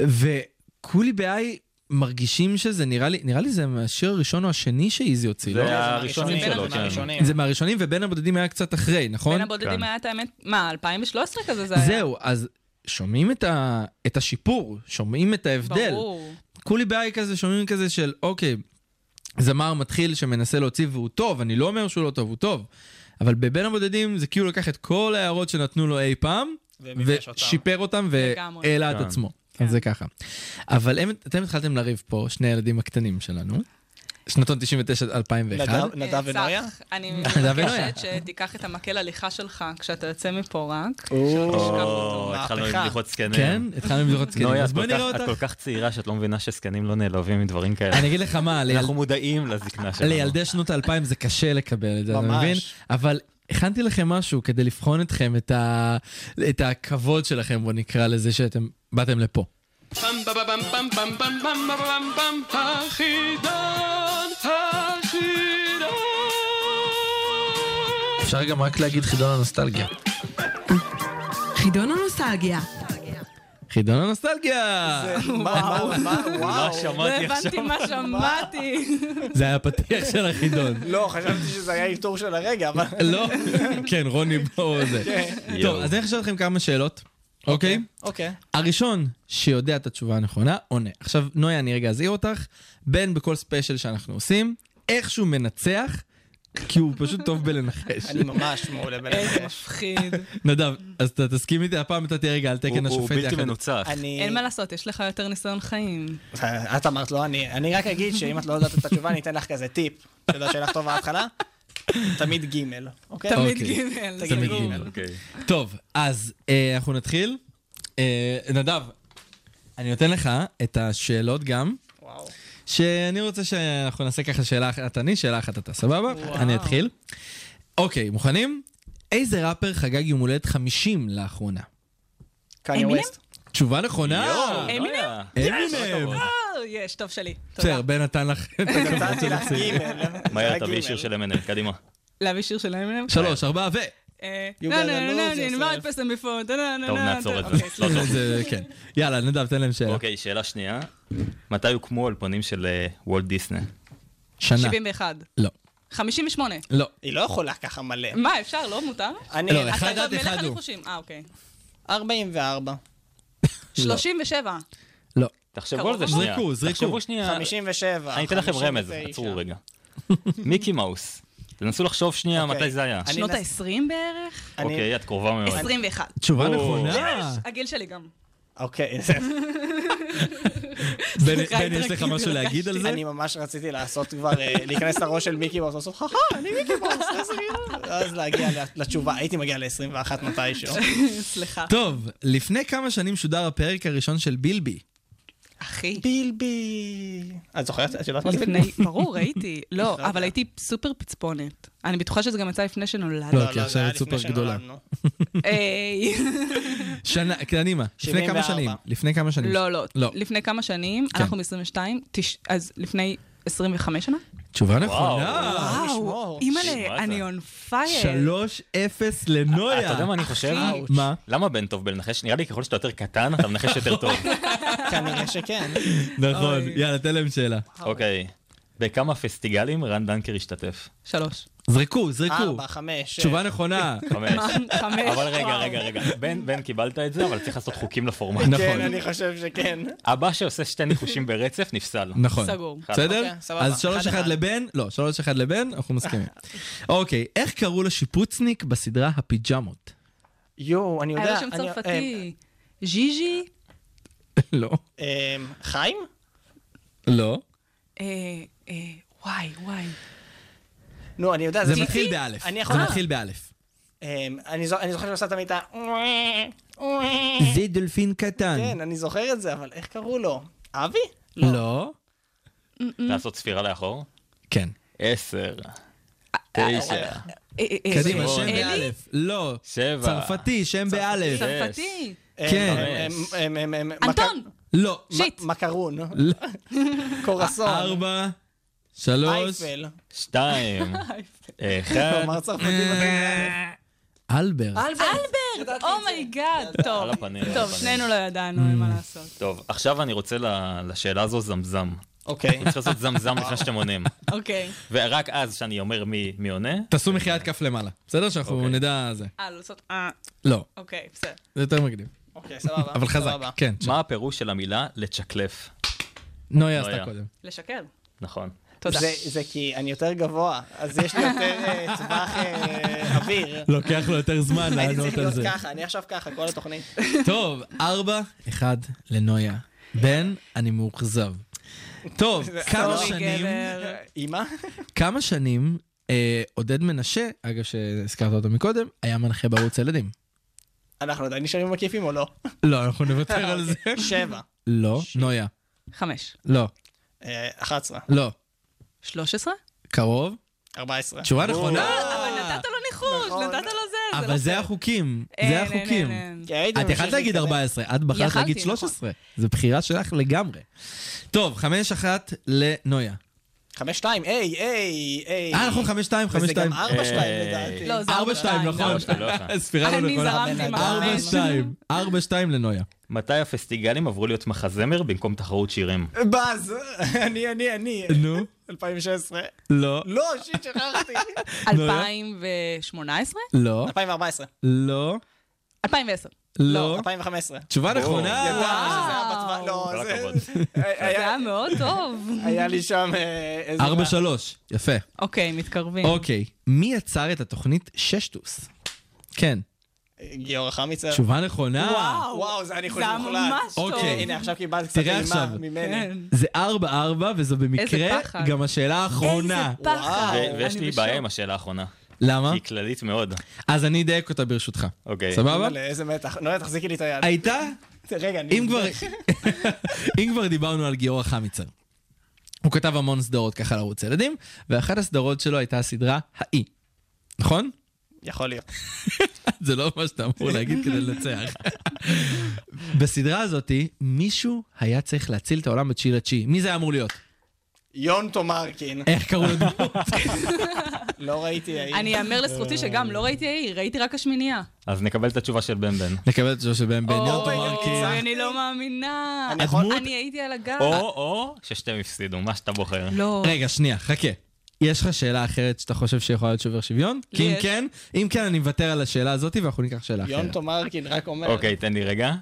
D: וכולי בעי מרגישים שזה נראה לי, נראה לי זה מהשיר הראשון או השני שאיזי הוציא, לא?
E: זה הראשונים
G: הראשונים,
E: שלו,
G: בין
E: כן.
F: הראשונים.
D: זה מהראשונים ובין הבודדים היה קצת אחרי, נכון?
G: בין הבודדים
E: כן.
G: היה את האמת, מה, 2013 כזה זה היה?
D: זהו, אז שומעים את, ה... את השיפור, שומעים את ההבדל.
G: ברור.
D: כולי בעיה כזה, שומעים כזה של, אוקיי, זמר מתחיל שמנסה להוציא והוא טוב, אני לא אומר שהוא לא טוב, הוא טוב. אבל בבין הבודדים זה כאילו לקח את כל ההערות שנתנו לו אי פעם,
F: ומימש אותם.
D: ושיפר אותם
G: לגמרי.
D: והעלה את
E: כן.
D: עצמו. אז זה ככה. אבל הם, אתם התחלתם לריב פה, שני הילדים הקטנים שלנו, שנתון 99-2001.
F: נדב- נדב
G: אה,
F: ונויה?
G: צח, אני
D: ונויה.
G: מבקשת שתיקח את המקל הליכה שלך כשאתה יוצא מפה רק. לא תשכח אותו.
E: או, התחלנו עם
F: מהפכה.
E: בדיחות זקנים.
D: כן, התחלנו עם זוכות זקנים,
E: נויה, את
D: אז בואי
E: כל
D: נראה
E: כך- את
D: אותך.
E: כל כך צעירה שאת לא מבינה שזקנים לא נעלבים מדברים כאלה.
D: אני אגיד לך מה, ליל-
E: אנחנו מודעים לזקנה שלנו.
D: לילדי שנות האלפיים זה קשה לקבל את זה, אתה
F: ממש.
D: מבין? אבל הכנתי לכם משהו כדי לבחון אתכם, את, ה... את הכבוד שלכם, בוא נקרא לזה, שאתם באתם לפה. אפשר גם רק להגיד חידון הנוסטלגיה.
C: חידון הנוסטלגיה.
D: חידון הנוסטלגיה!
F: אה, מה, מה, מה,
E: מה
F: וואו.
G: לא
E: שמעתי עכשיו?
G: הבנתי מה שמעתי.
D: זה היה הפתיח של [laughs] החידון.
F: לא, חשבתי שזה היה אלתור של הרגע, אבל...
D: [laughs]
F: כן.
D: לא? כן, רוני בואו זה. טוב,
E: יואו.
D: אז אני אשאל אתכם כמה שאלות, כן. אוקיי?
F: אוקיי.
D: הראשון שיודע את התשובה הנכונה, עונה. עכשיו, נויה, אני רגע אזהיר אותך, בן בכל ספיישל שאנחנו עושים, איכשהו מנצח, כי הוא פשוט טוב בלנחש.
F: אני ממש מעולה
G: איזה
F: בלנחש.
G: מפחיד.
D: נדב, אז אתה תסכים איתי, הפעם אתה תהיה רגע על תקן
E: הוא- הוא
D: השופט
E: בלתי
D: יחד.
E: מנוצח.
F: אני...
G: אין מה לעשות, יש לך יותר ניסיון חיים.
F: את אמרת לא, אני, אני רק אגיד שאם את לא יודעת את התשובה, אני אתן לך כזה טיפ. אתה יודע שאלה טוב בהתחלה? תמיד ג', אוקיי?
G: תמיד
D: אוקיי.
G: ג' זה
D: תמיד
G: ברור.
D: ג'.
E: אוקיי.
D: טוב, אז אה, אנחנו נתחיל. אה, נדב, אני נותן לך את השאלות גם,
F: וואו.
D: שאני רוצה שאנחנו נעשה ככה שאלה אחת אני, שאלה אחת אתה, סבבה? אני אתחיל. אוקיי, מוכנים? איזה ראפר חגג יום הולדת 50 לאחרונה?
F: קניה
G: אמינם?
F: ווסט.
D: תשובה נכונה!
E: יואו,
G: אמינם?
E: נויה.
D: אה, אמינם.
G: אה, יש, טוב שלי. תודה.
D: בסדר, בן נתן לך את הכבוד
F: נתתי
D: שלך.
F: לך ג'.
E: מהר תביאי
F: אה.
E: שיר של אמנם, קדימה.
D: אה.
G: להביא שיר של אמינם?
D: שלוש, ארבע, ו...
G: אה,
F: You
G: לא,
F: gotta
G: לא, לא,
F: lose
G: לא, אני נאמר
F: yourself.
G: את פסם בפור. טוב,
E: טוב, נעצור את זה.
G: אוקיי,
E: לא טוב.
D: זה, כן. יאללה, נדב, תן להם שאלה.
E: אוקיי, שאלה שנייה. מתי הוקמו האולפנים של אה, וולט דיסנה?
D: שנה.
G: 71.
D: לא.
G: 58.
D: לא.
F: היא לא יכולה ככה מלא.
G: מה, אפשר? לא מותר?
F: אני...
D: לא, אחד
G: אתה
D: עד
G: מלך
D: אחד הוא.
G: הניחושים. אה, אוקיי.
F: 44,
D: לא.
G: 37.
D: לא.
E: תחשבו
G: קרוב
E: על זה
G: מאוד.
E: שנייה.
D: זריקו, זריקו.
E: תחשבו שנייה.
F: 57,
E: אה, אני אתן לכם רמז,
F: 59.
E: עצרו רגע. מיקי מאוס. תנסו לחשוב שנייה
F: אוקיי.
E: מתי זה היה.
F: אני
G: שנות
F: נס-
G: ה-20 בערך?
F: אני-
E: אוקיי, את קרובה
D: לא,
E: מאוד.
G: 21.
D: תשובה
E: או.
D: נכונה.
G: הגיל שלי גם.
E: [laughs]
F: אוקיי,
D: בן,
G: סליחה,
D: בן, יש לך
G: התרגשתי,
D: משהו להגיד על זה?
F: אני ממש רציתי לעשות כבר, אה, להיכנס לראש של מיקי מאוס, לעשות חכה, אני מיקי מאוס, איזה רעיון." ואז להגיע ל- לתשובה, הייתי מגיע ל-21 מתישהו.
G: סליחה.
D: טוב, לפני כמה שנים שודר הפרק הראשון של בילבי.
G: אחי.
F: בילבי. את זוכרת? את יודעת מה זה בילבי?
G: לפני, ברור, הייתי. לא,
D: [laughs]
G: אבל הייתי סופר פצפונת. אני בטוחה שזה גם יצא לפני שנולד.
D: לא, כי עכשיו
F: זה היה
D: את סופר
F: לפני
D: גדולה.
F: שנולדנו.
G: [laughs] היי.
D: שנה, קדימה. לפני כמה
F: 74.
D: שנים. לפני כמה שנים.
G: לא, לא.
D: לא.
G: לפני כמה שנים,
D: כן.
G: אנחנו מ-22, אז לפני 25 שנה? אה,
D: תשובה
E: וואו.
D: נכונה.
F: אה, [laughs] נשמור.
E: שמעת?
G: אימא'לה, אני און פייר.
D: שלוש אפס לנויה.
E: אה, אתה יודע מה אני חושב?
D: מה?
E: למה בן טוב בלנחש? נראה לי ככל שאתה יותר קטן, אתה מנחש יותר
G: [laughs]
E: טוב.
F: כנראה שכן.
D: נכון, יאללה, תן להם שאלה.
E: אוקיי. בכמה פסטיגלים רן דנקר השתתף?
G: שלוש.
D: זרקו, זרקו.
F: ארבע, חמש. שש.
D: תשובה נכונה.
E: חמש.
G: חמש.
E: אבל רגע,
G: וואו.
E: רגע, רגע. בן, בן, קיבלת את זה, אבל צריך לעשות חוקים לפורמט.
D: נכון.
F: כן, אני חושב שכן.
E: הבא שעושה שתי ניחושים ברצף, נפסל.
D: נכון.
G: סגור.
D: בסדר?
F: אוקיי, סבבה.
D: אז שלוש
F: אחד
D: אחד
F: אחד.
D: לבן, לא, שלוש אחד לבן, אנחנו מסכימים. אוקיי, איך קראו לשיפוצניק בסדרה הפיג'מות? [laughs]
F: יואו, אני יודע.
G: היה לו שם
D: אה,
F: אני- אה,
G: צרפתי. ז'יז'י,
D: לא.
F: אה, אה, חיים?
D: לא.
G: אה, אה, וואי, וואי. אה,
F: נו, אני יודע,
D: זה
F: זה...
D: מתחיל באלף.
F: אני יכול-
D: זה מתחיל באלף.
F: אה, אני זו- אני זוכר שהוא עשה תמיד
D: [laughs]
F: את ה...
D: זה דולפין קטן.
F: אה. כן, אני זוכר את זה, אבל איך קראו לו? אבי? אמ,
D: לא.
E: לעשות ספירה לאחור?
D: כן.
E: עשר, תשע,
G: אה, אה, אה,
D: קדימה,
G: אה,
D: שם
G: אלי?
D: באלף. לא.
E: שבע.
D: צרפתי, שם באלף.
E: שבע.
G: צרפתי.
F: אה,
D: כן.
F: אה, אה, אה, אה, אה, אה,
G: אנטון!
D: לא.
F: מק-
G: שיט.
F: מ-
D: [laughs]
F: מקרון.
D: לא.
F: קורסון.
D: ארבע, שלוש,
F: אייפל.
E: שתיים, אחד,
F: כלומר צרפתי בטח.
D: אלברט.
F: אלברט!
G: אומייגאד,
E: על
G: Oh טוב.
E: הפנים, על
G: טוב,
E: הפנים.
G: שנינו לא ידענו, אין מה
D: Mm.
G: לעשות.
E: [laughs] טוב, עכשיו אני רוצה ל- לשאלה הזו זמזם.
F: אוקיי.
E: אני צריך לעשות זמזם לפני שאתם עונים.
G: אוקיי.
E: ורק אז שאני אומר מי מי עונה,
D: תעשו מחיית כף למעלה. בסדר? שאנחנו
E: אוקיי.
D: נדע זה.
G: אה, לא לעשות אה.
D: לא.
G: אוקיי, בסדר.
D: זה יותר מגניב.
F: אוקיי, סבבה.
D: אבל חזק.
F: סבבה.
D: כן. ש-
E: מה הפירוש של המילה לצ'קלף?
D: נויה
E: נויה.
D: עשתה קודם.
G: לשקר.
E: נכון.
G: תודה.
F: זה- זה כי אני יותר גבוה, אז יש לי יותר אה, טווח אה, אוויר.
D: לוקח לו יותר
F: [laughs]
D: זמן לענות
F: הייתי צריך
D: על
F: להיות
D: לא זה.
F: ככה, אני עכשיו ככה, כל התוכנית.
D: טוב, ארבע, אחד לנויה. בן, אני מאוכזב. טוב, כמה
G: סורי,
D: שנים,
G: אוקיי, גבר.
F: אימא?
D: כמה שנים אה, עודד מנשה, אגב שהזכרת אותו מקודם, היה מנחה בערוץ הילדים.
F: אנחנו עדיין נשארים במקיפים
D: [laughs]
F: או לא?
D: לא, אנחנו נוותר על זה.
F: שבע.
D: לא, נויה.
G: חמש.
D: לא,
F: אה, 11.
D: לא.
G: שלוש עשרה?
D: אה, קרוב.
F: 14.
D: תשובה נכונה.
G: אבל נתת לו ניחוש,
F: נכון.
G: נתת לו זה.
D: אבל
G: לא
D: זה
G: פייר. אה,
D: החוקים,
G: אין,
D: זה
G: אין,
D: החוקים. כן.
G: אין, אין.
F: כי הייתי
D: את יכלת
F: ממשיך
D: להגיד
F: להתקדם.
D: 14, את בחרת
G: יכלתי,
D: להגיד
G: נכון.
D: 13. זו בחירה שלך לגמרי. טוב, 5-1 לנויה.
F: חמש, שתיים, היי, היי, היי.
D: אה, נכון, 5-2, 5-2.
F: וזה גם ארבע,
D: אה.
F: שתיים,
E: היי.
F: לדעתי.
G: לא, זה ארבע
D: 4-2,
G: שתיים.
D: נכון.
G: ארבע שתיים.
E: לא אחד.
D: ספירה לא
G: אני
D: נכונה.
G: זרמתי עם
F: ארבע,
G: החמש.
D: 4-2, 4-2 לנויה.
E: מתי הפסטיגלים עברו להיות מחזמר במקום תחרות שירים?
F: באז, [laughs] אני, אני, אני.
D: נו,
F: 2016.
D: לא,
F: לא, שיט,
G: [laughs]
F: שכחתי.
G: אה,
D: נויה?
G: 2018?
D: לא,
F: 2014.
D: לא,
G: 2010.
D: לא.
F: 2015.
G: אה.
D: תשובה נכונה.
G: לא.
F: שזה היה בטווח, לא,
E: כל
F: זה... אה,
E: הכבוד.
G: זה
F: היה-
G: היה מאוד טוב.
F: היה לי שם אה, איזה...
D: 4-3, יפה.
G: אוקיי, מתקרבים.
D: אוקיי, מי יצר את התוכנית ששטוס? כן,
F: גיאורא
G: אה.
F: חמיצר.
D: תשובה נכונה.
F: וואו, זה אני חושב
G: זה היה
F: מוחלט.
G: ממש טוב.
D: אוקיי.
F: הנה, עכשיו קיבלת קצת
D: תראה
F: אימה
D: עכשיו.
F: ממני.
G: כן.
D: זה 4-4, וזו במקרה
G: איזה פחד.
D: גם השאלה האחרונה.
G: איזה פחד.
F: וואו.
E: ו- ויש
G: אה, אני
E: לי
G: בשוק.
E: בעיה עם השאלה האחרונה.
D: למה?
E: היא כללית מאוד.
D: אז אני אדייק אותה ברשותך.
E: אוקיי.
G: לא,
D: סבבה?
F: אבל איזה מתח. נויה, תחזיקי לי את היד.
D: הייתה,
F: רגע, אני...
D: אם כבר
G: [laughs]
D: אם כבר דיברנו על גיורא חמיצר. הוא כתב המון סדרות ככה לערוץ ילדים, ואחת הסדרות שלו הייתה הסדרה האי. נכון? [laughs]
F: יכול להיות.
D: זה לא מה שאתה אמור להגיד כדי לנצח. [laughs] בסדרה הזאתי, מישהו היה צריך להציל את העולם בתשיעי לתשיעי. מי זה היה אמור להיות?
F: יון תומרקין.
D: איך קראו
G: [laughs]
D: לדמות?
F: לא ראיתי האם.
G: אני אאמר לזכותי שגם לא ראיתי העיר, ראיתי רק השמינייה.
E: אז נקבל את התשובה של בן בן.
D: נקבל את שלוש בן בן יום
G: אוי,
D: תומרקין.
G: אני לא מאמינה.
F: אני יכול-
G: אני הייתי על הגב.
E: או, או, ששתיהם הפסידו, מה שאתה בוחר.
G: לא.
D: רגע, שנייה, חכה. יש לך שאלה אחרת שאתה חושב שיכולה להיות שובר שוויון? כי אם
G: יש.
D: כן, אם כן, אני מוותר על השאלה הזאת ואנחנו ניקח שאלה
F: יון
D: אחרת.
F: תומרקין רק אומר.
E: אוקיי, תן לי רגע.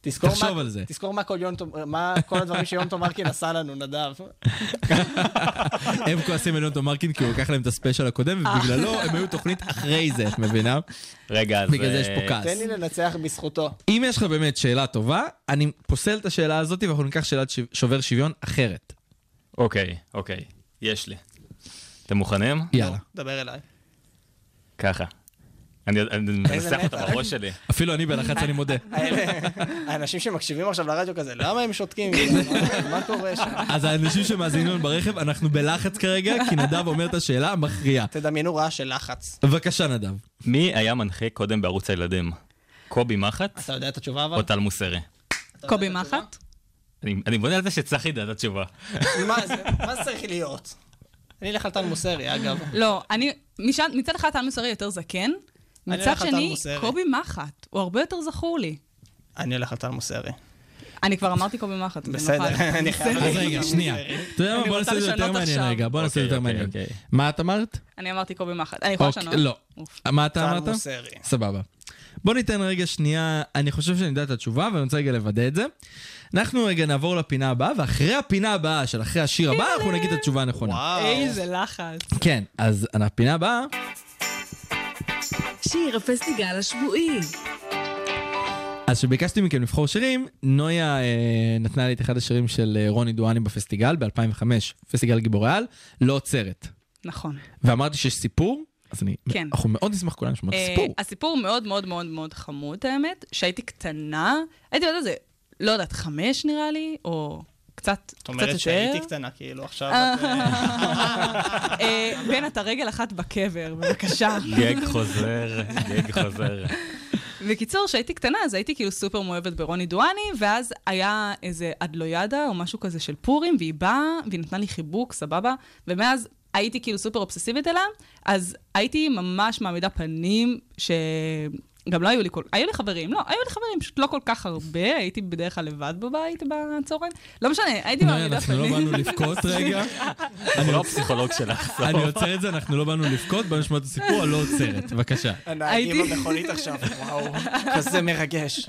F: תזכור
D: תחשוב
F: מה-
D: על זה.
F: תזכור מה כל יון תומ- מה כל הדברים שיון תומרקין עשה לנו, נדב.
D: [laughs] הם כועסים על יונתן מרקין כי הוא לקח להם את הספיישל הקודם, ובגללו הם היו תוכנית אחרי זה, את מבינה?
E: רגע, אז...
D: בגלל זה יש
E: אה,
D: פה כעס.
F: תן לי לנצח בזכותו.
D: אם יש לך באמת שאלה טובה, אני פוסל את השאלה הזאת ואנחנו ניקח שאלת שו- שובר שוויון אחרת.
E: אוקיי, אוקיי, יש לי. אתם מוכנים?
F: לא.
D: יאללה.
F: דבר אליי.
E: ככה. אני אני מנסח אותה
F: מתח.
E: בראש שלי.
D: אפילו אני בלחץ, אני מודה.
F: האלה- [laughs] האנשים שמקשיבים עכשיו לרדיו כזה, למה הם
D: [laughs]
F: שותקים? מה קורה שם?
D: אז האנשים שמאזינים לנו ברכב, אנחנו בלחץ כרגע, כי נדב אומר את השאלה המכריעה.
F: תדמיינו רעש של לחץ.
D: בבקשה, נדב.
E: מי היה מנחה קודם בערוץ הילדים? קובי מחט
F: אתה יודע את התשובה אבל?
E: או טל מוסרי?
G: קובי מחט?
E: אני אני בונה על זה שצחי ידע את התשובה.
D: אוקיי.
F: מה זה- מה זה צריך להיות? אני אלך על טל מוסרי, אגב.
G: לא, אני... משם- מצד אחד טל מוסרי יותר זקן,
F: אני
G: מצד
F: הולך על טל
G: שני,
F: מוסרי.
G: קובי מחט, הוא הרבה יותר זכור לי.
F: אני הולך על טל מוסרי.
G: אני כבר אמרתי קובי מחט, נכון. אז
F: בסדר,
G: נוכל.
F: אני חייב
D: אז רגע, שנייה. אתה יודע מה?
G: אני
D: בוא
G: רוצה
D: נעשה את זה יותר
G: לשנות
D: מעניין
G: עכשיו.
D: רגע. בוא נעשה את זה יותר
E: אוקיי,
D: מעניין.
E: אוקיי.
D: מה את אמרת?
G: אני אמרתי קובי מחט. אני יכולה
D: אוקיי,
G: לשנות?
D: לא.
G: אוף.
D: מה אתה
F: טל
D: אמרת?
F: מוסרי.
D: סבבה. בוא ניתן רגע שנייה, אני חושב שאני יודע את התשובה, אבל אני רוצה רגע לוודא את זה. אנחנו רגע נעבור לפינה הבאה, ואחרי הפינה הבאה של אחרי השיר הבא, אנחנו נגיד את התשובה
F: אה,
D: הנכונה.
F: וואו.
G: איזה לחץ.
D: כן, אז הפינה הבאה...
C: שיר הפסטיגל השבועי.
D: אז כשביקשתי מכם לבחור שירים, נויה אה, נתנה לי את אחד השירים של אה, רוני דואני בפסטיגל ב-2005, פסטיגל גיבורי על, לא עוצרת.
G: נכון.
D: ואמרתי שיש סיפור, אז אני,
G: כן.
D: אנחנו מאוד נשמח כולנו לשמוע את
G: אה,
D: הסיפור.
G: הסיפור מאוד מאוד מאוד מאוד חמוד, האמת. שהייתי קטנה, הייתי יודעת את זה, לא יודעת, חמש נראה לי, או קצת קצת יותר.
F: זאת אומרת שהייתי קטנה, כאילו עכשיו... את, אה,
G: אה, [laughs] בן, אתה רגל אחת בקבר, בבקשה.
E: גג חוזר, גג חוזר.
G: בקיצור, כשהייתי קטנה, אז הייתי כאילו סופר מאוהבת ברוני דואני, ואז היה איזה אדלוידה או משהו כזה של פורים, והיא באה, והיא נתנה לי חיבוק, סבבה, ומאז הייתי כאילו סופר אובססיבית אליה, אז הייתי ממש מעמידה פנים ש... גם לא היו לי כל... היו לי חברים, לא, היו לי חברים, פשוט לא כל כך הרבה, הייתי בדרך כלל לבד בבית בצהריים. לא משנה, הייתי
D: נויה,
G: מעמידה
D: אנחנו לא
G: פנים. [laughs]
D: באנו לבכות רגע,
E: אנחנו לא הפסיכולוג שלך,
D: אני עוצר את זה, אנחנו לא באנו לבכות, באנו לשמוע את הסיפור, הלא עוצרת, בבקשה.
F: הנהגים
G: הייתי-
F: במכונית [laughs] עכשיו, וואו, כזה מרגש.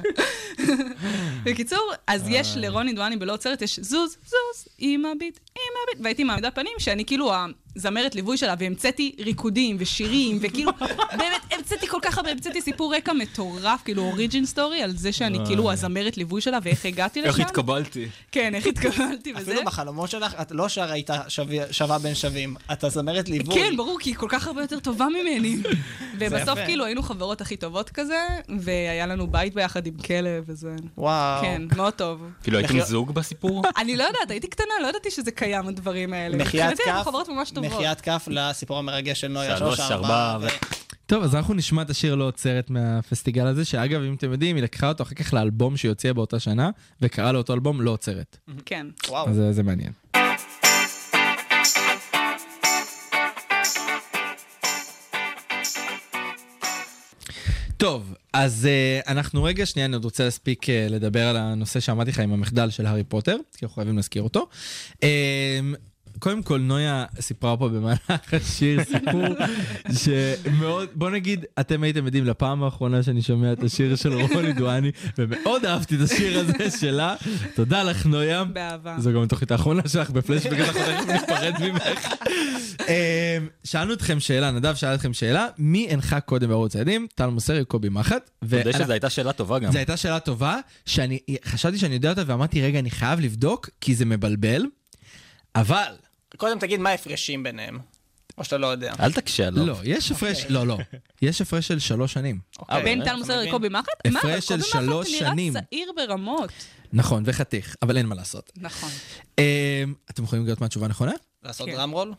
G: בקיצור, אז יש לרוני דואני בלא עוצרת, יש זוז, זוז, עם הביט, עם הביט, והייתי מעמידה פנים שאני כאילו הזמרת ליווי שלה, והמצאתי ריקודים ושירים,
F: [laughs]
G: וכאילו, באמת, המצאתי כל כך הרבה, המצאתי סיפור רקע מטורף, כאילו אוריג'ין סטורי, על זה שאני כאילו הזמרת ליווי שלה, ואיך הגעתי לשם.
E: איך התקבלתי?
G: כן, איך התקבלתי וזה.
F: אפילו בחלומות שלך, את לא שרה הייתה שווה- שווה בין שווים, אתה זמרת ליווי.
G: כן, ברור, כי היא כל כך הרבה יותר טובה ממני.
F: [laughs]
G: ובסוף
F: יפה.
G: כאילו היינו חברות הכי טובות כזה, והיה לנו בית ביחד עם כלב וזה.
F: וואו.
G: כן, מאוד טוב.
E: כאילו, הייתם
F: לחיות-
E: זוג בסיפור?
G: אני לא יודעת, הייתי קטנה, לא ידעתי שזה קיים, הדברים האלה.
F: מחיית
G: מבחינתי, אנחנו
F: כף,
G: חברות ממש טובות.
F: מחיית כף לסיפור המרגש של נויה.
E: שלוש, ארבע, ו-
D: טוב, אז אנחנו נשמע את השיר לא עוצרת מהפסטיגל הזה, שאגב, אם אתם יודעים, היא לקחה אותו אחר כך לאלבום שהיא הוציאה באותה שנה, וקראה לאותו אלבום לא עוצרת.
G: כן.
F: אה, וואו.
D: אז זה- זה מעניין. טוב, אז uh, אנחנו רגע, שנייה, אני עוד רוצה להספיק uh, לדבר על הנושא שאמרתי לך עם המחדל של הארי פוטר, כי אנחנו חייבים להזכיר אותו. Um, קודם כל, נויה סיפרה פה במהלך השיר [laughs] סיפור שמאוד, בוא נגיד, אתם הייתם עדים לפעם האחרונה שאני שומע את השיר של רוני דואני, ומאוד אהבתי את השיר הזה שלה. תודה לך, נויה.
G: באהבה.
D: זו גם התוכנית האחרונה שלך בפלאש, בגלל אנחנו תכף ניפרד ממך. אה, שאלנו אתכם שאלה, נדב שאל אתכם שאלה, מי הנחה קודם בערוץ הילדים? טל מוסרי, קובי מחט.
E: אני יודע שזו הייתה שאלה טובה גם.
D: זו הייתה שאלה טובה, שאני חשבתי שאני יודע אותה ואמרתי, רגע, אני חייב לבדוק, כי זה מבלבל, אבל...
F: קודם תגיד מה ההפרשים ביניהם, או שאתה לא יודע.
E: אל תקשה עליו.
D: לא, יש הפרש, לא, לא. יש הפרש של שלוש שנים.
F: אוקיי.
G: אה, בין
F: אתה
G: טל מוסר
F: מבין?
G: לקובי מחט?
D: הפרש
G: מה, אבל
D: של
G: קובי מחט
D: שלוש שנים.
G: נראה צעיר ברמות.
D: נכון, וחתיך, אבל אין מה לעשות.
G: נכון.
D: אה, אתם יכולים לגלות מה התשובה הנכונה?
F: לעשות
G: כן.
F: דראם רול?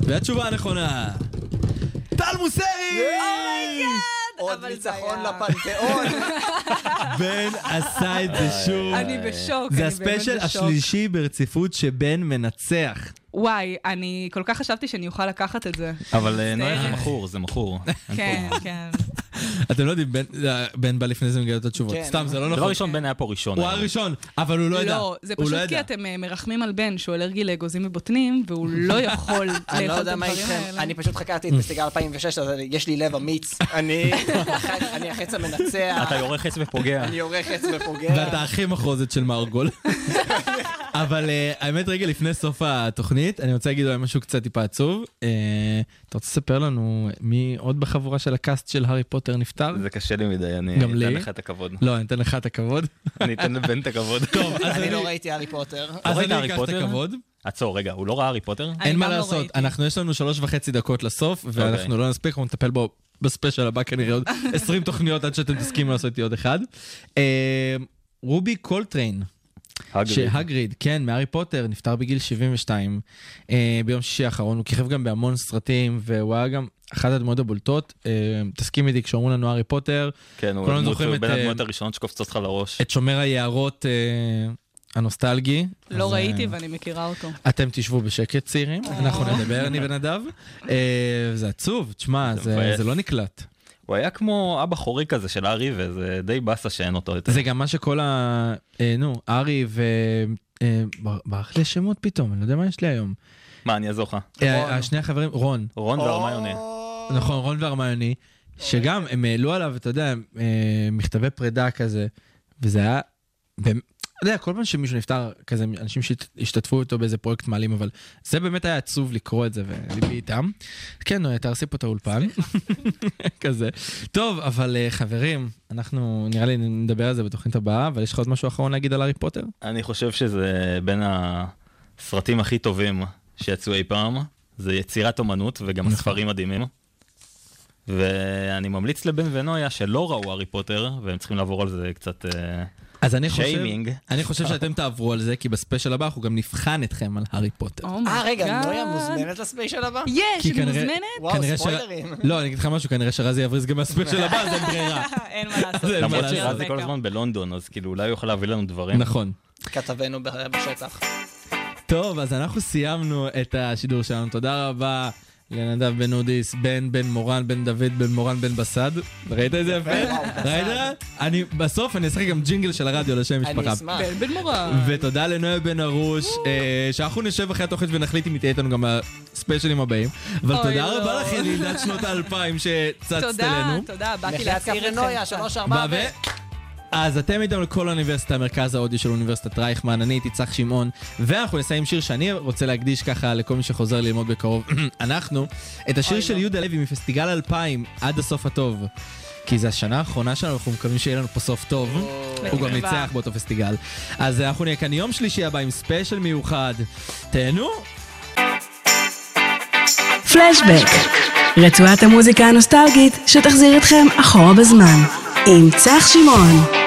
D: והתשובה הנכונה, טל מוסרי!
F: עוד
G: אבל זה
F: ניצחון
G: היה- [laughs]
F: לפנתיאון.
D: בן עשה את זה שוב.
F: אה.
G: אני בשוק,
D: זה
G: אני באמת
D: הספיישל
G: בשוק.
D: השלישי ברציפות שבן מנצח.
G: וואי, אני כל כך חשבתי שאני אוכל לקחת את זה.
E: אבל אה, נויה
G: מצטערת.
E: זה מכור, זה מכור. אין
G: כן,
E: פה-
G: כן.
D: אתם לא יודעים, בן- בן בא לפני זה ומגלה את התשובות.
F: כן.
D: סתם, זה לא
E: דבר
D: נכון.
E: ראשון, בן היה פה ראשון.
D: הוא הראשון, אבל הוא לא ידע.
G: לא, זה
D: הוא
G: פשוט
D: ידע.
G: כי אתם אה, מרחמים על בן שהוא אלרגי לאגוזים ובוטנים, והוא לא
F: [laughs] אני
G: יכול
F: לא
G: לאכול את
F: יודע מה
G: הדברים
F: איתכם,
G: האלה.
F: אני פשוט
E: [laughs]
F: חקרתי את פסטיגל 2006, אז יש לי לב אמיץ. אני אני החץ המנצח,
E: אתה יורה חץ ופוגע.
F: אני יורה חץ ופוגע.
D: ואתה הכי מחרוזת של
G: [laughs]
D: מרגול. אבל אה, האמת, רגע לפני סוף התוכנית, אני רוצה להגיד אולי משהו קצת טיפה עצוב. אה, אתה רוצה לספר לנו מי עוד בחבורה של הקאסט של הארי פוטר נפטר?
E: זה קשה לי מדי, אני
D: גם לי?
E: אתן לך את הכבוד.
D: לא, אני אתן לך את הכבוד.
E: אני אתן לבן את הכבוד. טוב,
D: אז
F: אני לא ראיתי הארי פוטר.
D: אז
E: ראית
D: אני
E: הארי
D: אקח את
E: פוטר?
D: הכבוד.
E: [laughs] עצור, רגע, הוא לא ראה הארי פוטר?
G: אני
D: אין מה
G: גם לא
D: לעשות,
G: ראיתי.
D: אנחנו יש לנו שלוש וחצי דקות לסוף, ואנחנו לא נספיק, אנחנו נטפל בו בספיישל הבא כנראה
G: [laughs]
D: עוד 20 תוכניות עד שאתם תסכימו לעשות איתי עוד אחד. אה, רובי קולטריין,
E: הגריד.
D: שהגריד, כן, מהארי פוטר, נפטר בגיל 72 אה, ביום שישי האחרון, הוא כיכב גם בהמון סרטים, והוא היה גם אחת הדמויות הבולטות. אה, תסכים איתי, כשאומרים לנו הארי פוטר,
E: כן, הוא
D: כולנו
E: הדמות-
D: זוכרים
E: הוא
D: את,
E: בין
D: אה,
E: הדמויות הראשונות שקופצות לך לראש.
D: את שומר היערות אה, הנוסטלגי. אז,
G: לא
D: אה,
G: ראיתי ואני מכירה אותו.
D: אתם תשבו בשקט צעירים, אנחנו נדבר, אני ונדב. אה, זה עצוב, תשמע,
E: זה
D: זה-
E: מבאס.
D: זה לא נקלט.
E: הוא היה כמו אבא חורי כזה של הארי, וזה די באסה שאין אותו יותר.
D: זה גם מה שכל ה... אה, נו, ארי ו... אה, בר- ברח לי השמות פתאום, אני לא יודע מה יש לי היום.
E: מה, אני אעזור לך.
D: אה,
F: רון.
D: השני החברים, רון,
E: רון והרמיוני.
D: נכון, רון והרמיוני, שגם הם העלו עליו, אתה יודע, אה, מכתבי פרידה כזה, וזה היה... באמת- אתה יודע, כל פעם שמישהו נפטר, כזה אנשים שהשתתפו איתו באיזה פרויקט מעלים, אבל זה באמת היה עצוב לקרוא את זה וליבי איתם. כן, נויה, תהרסי פה את האולפן. [laughs] כזה. טוב, אבל אה, חברים, אנחנו נראה לי נדבר על זה בתוכנית הבאה, אבל יש לך עוד משהו אחרון להגיד על הארי פוטר?
E: אני חושב שזה בין הסרטים הכי טובים שיצאו אי פעם. זה יצירת אומנות
D: נכון.
E: וגם ספרים מדהימים. ואני ממליץ לבן ונויה שלא ראו הארי פוטר, והם צריכים לעבור על זה קצת... אה,
D: אז אני חושב,
E: שיימינג.
D: אני חושב שאתם תעברו על זה, כי בספיישל הבא אנחנו גם נבחן אתכם על הארי פוטר.
F: אה, רגע,
G: אומייגאד.
F: נויה מוזמנת לספיישל הבא?
G: Oh יש,
D: כי
G: היא
D: כנראה-
G: מוזמנת?
F: וואו,
D: כנראה ש-
F: ספוילרים.
D: לא, אני אגיד לך משהו, כנראה שרזי יבריז גם מהספיישל הבא, אז אין
G: [laughs]
D: ברירה.
G: אה, אין מה לעשות.
D: [laughs]
G: לא
D: זה אין מה
E: למרות
D: לעשות.
E: שרז זה כל הזמן בלונדון, אז כאילו אולי הוא יוכל להביא לנו דברים.
D: נכון.
F: כתבנו ב- בשטח.
D: טוב, אז אנחנו סיימנו את השידור שלנו. תודה רבה לנדב בן אודיס, בן בן מורן, בן דוד, בן מורן, בן בסד. ראית את זה יפה?
F: וואו, בסד.
D: ראית? אני, בסוף אני אשחק גם ג'ינגל של הרדיו לשם
F: אני
D: משפחה.
F: אשמח.
G: בן בן מורה.
D: ותודה לנויה בן ארוש, אה, שאנחנו נשב אחרי התוכנית ונחליט אם היא תהיה איתנו גם בספיישלים הבאים. אבל
G: אוי,
D: תודה
G: לא.
D: רבה לך, ילידת שנות
G: [laughs]
D: האלפיים שצצת
G: תודה,
D: אלינו.
G: תודה, באתי
F: מחיית
G: להזכיר
F: כף
G: אתכם.
F: לנויה,
G: קצת.
F: שלוש
D: מה
F: ארבע.
D: ו... אז אתם איתנו לכל האוניברסיטה, מרכז האודיו של אוניברסיטת רייכמן, אני הייתי צח שמעון, ואנחנו נסיים עם שיר שאני רוצה להקדיש ככה לכל מי שחוזר ללמוד בקרוב, [clears throat] אנחנו, את השיר של יהודה לוי מפסטיגל 2000, עד הסוף הטוב. כי זו השנה האחרונה שלנו, אנחנו מקווים שיהיה לנו פה סוף טוב. הוא גם
G: בתקווה.
D: ניצח באותו פסטיגל. אז אנחנו נהיה כאן יום שלישי הבא עם ספיישל מיוחד. תהנו!
C: פלשבק, רצועת המוזיקה הנוסטלגית שתחזיר אתכם אחורה בזמן, עם צח שמעון.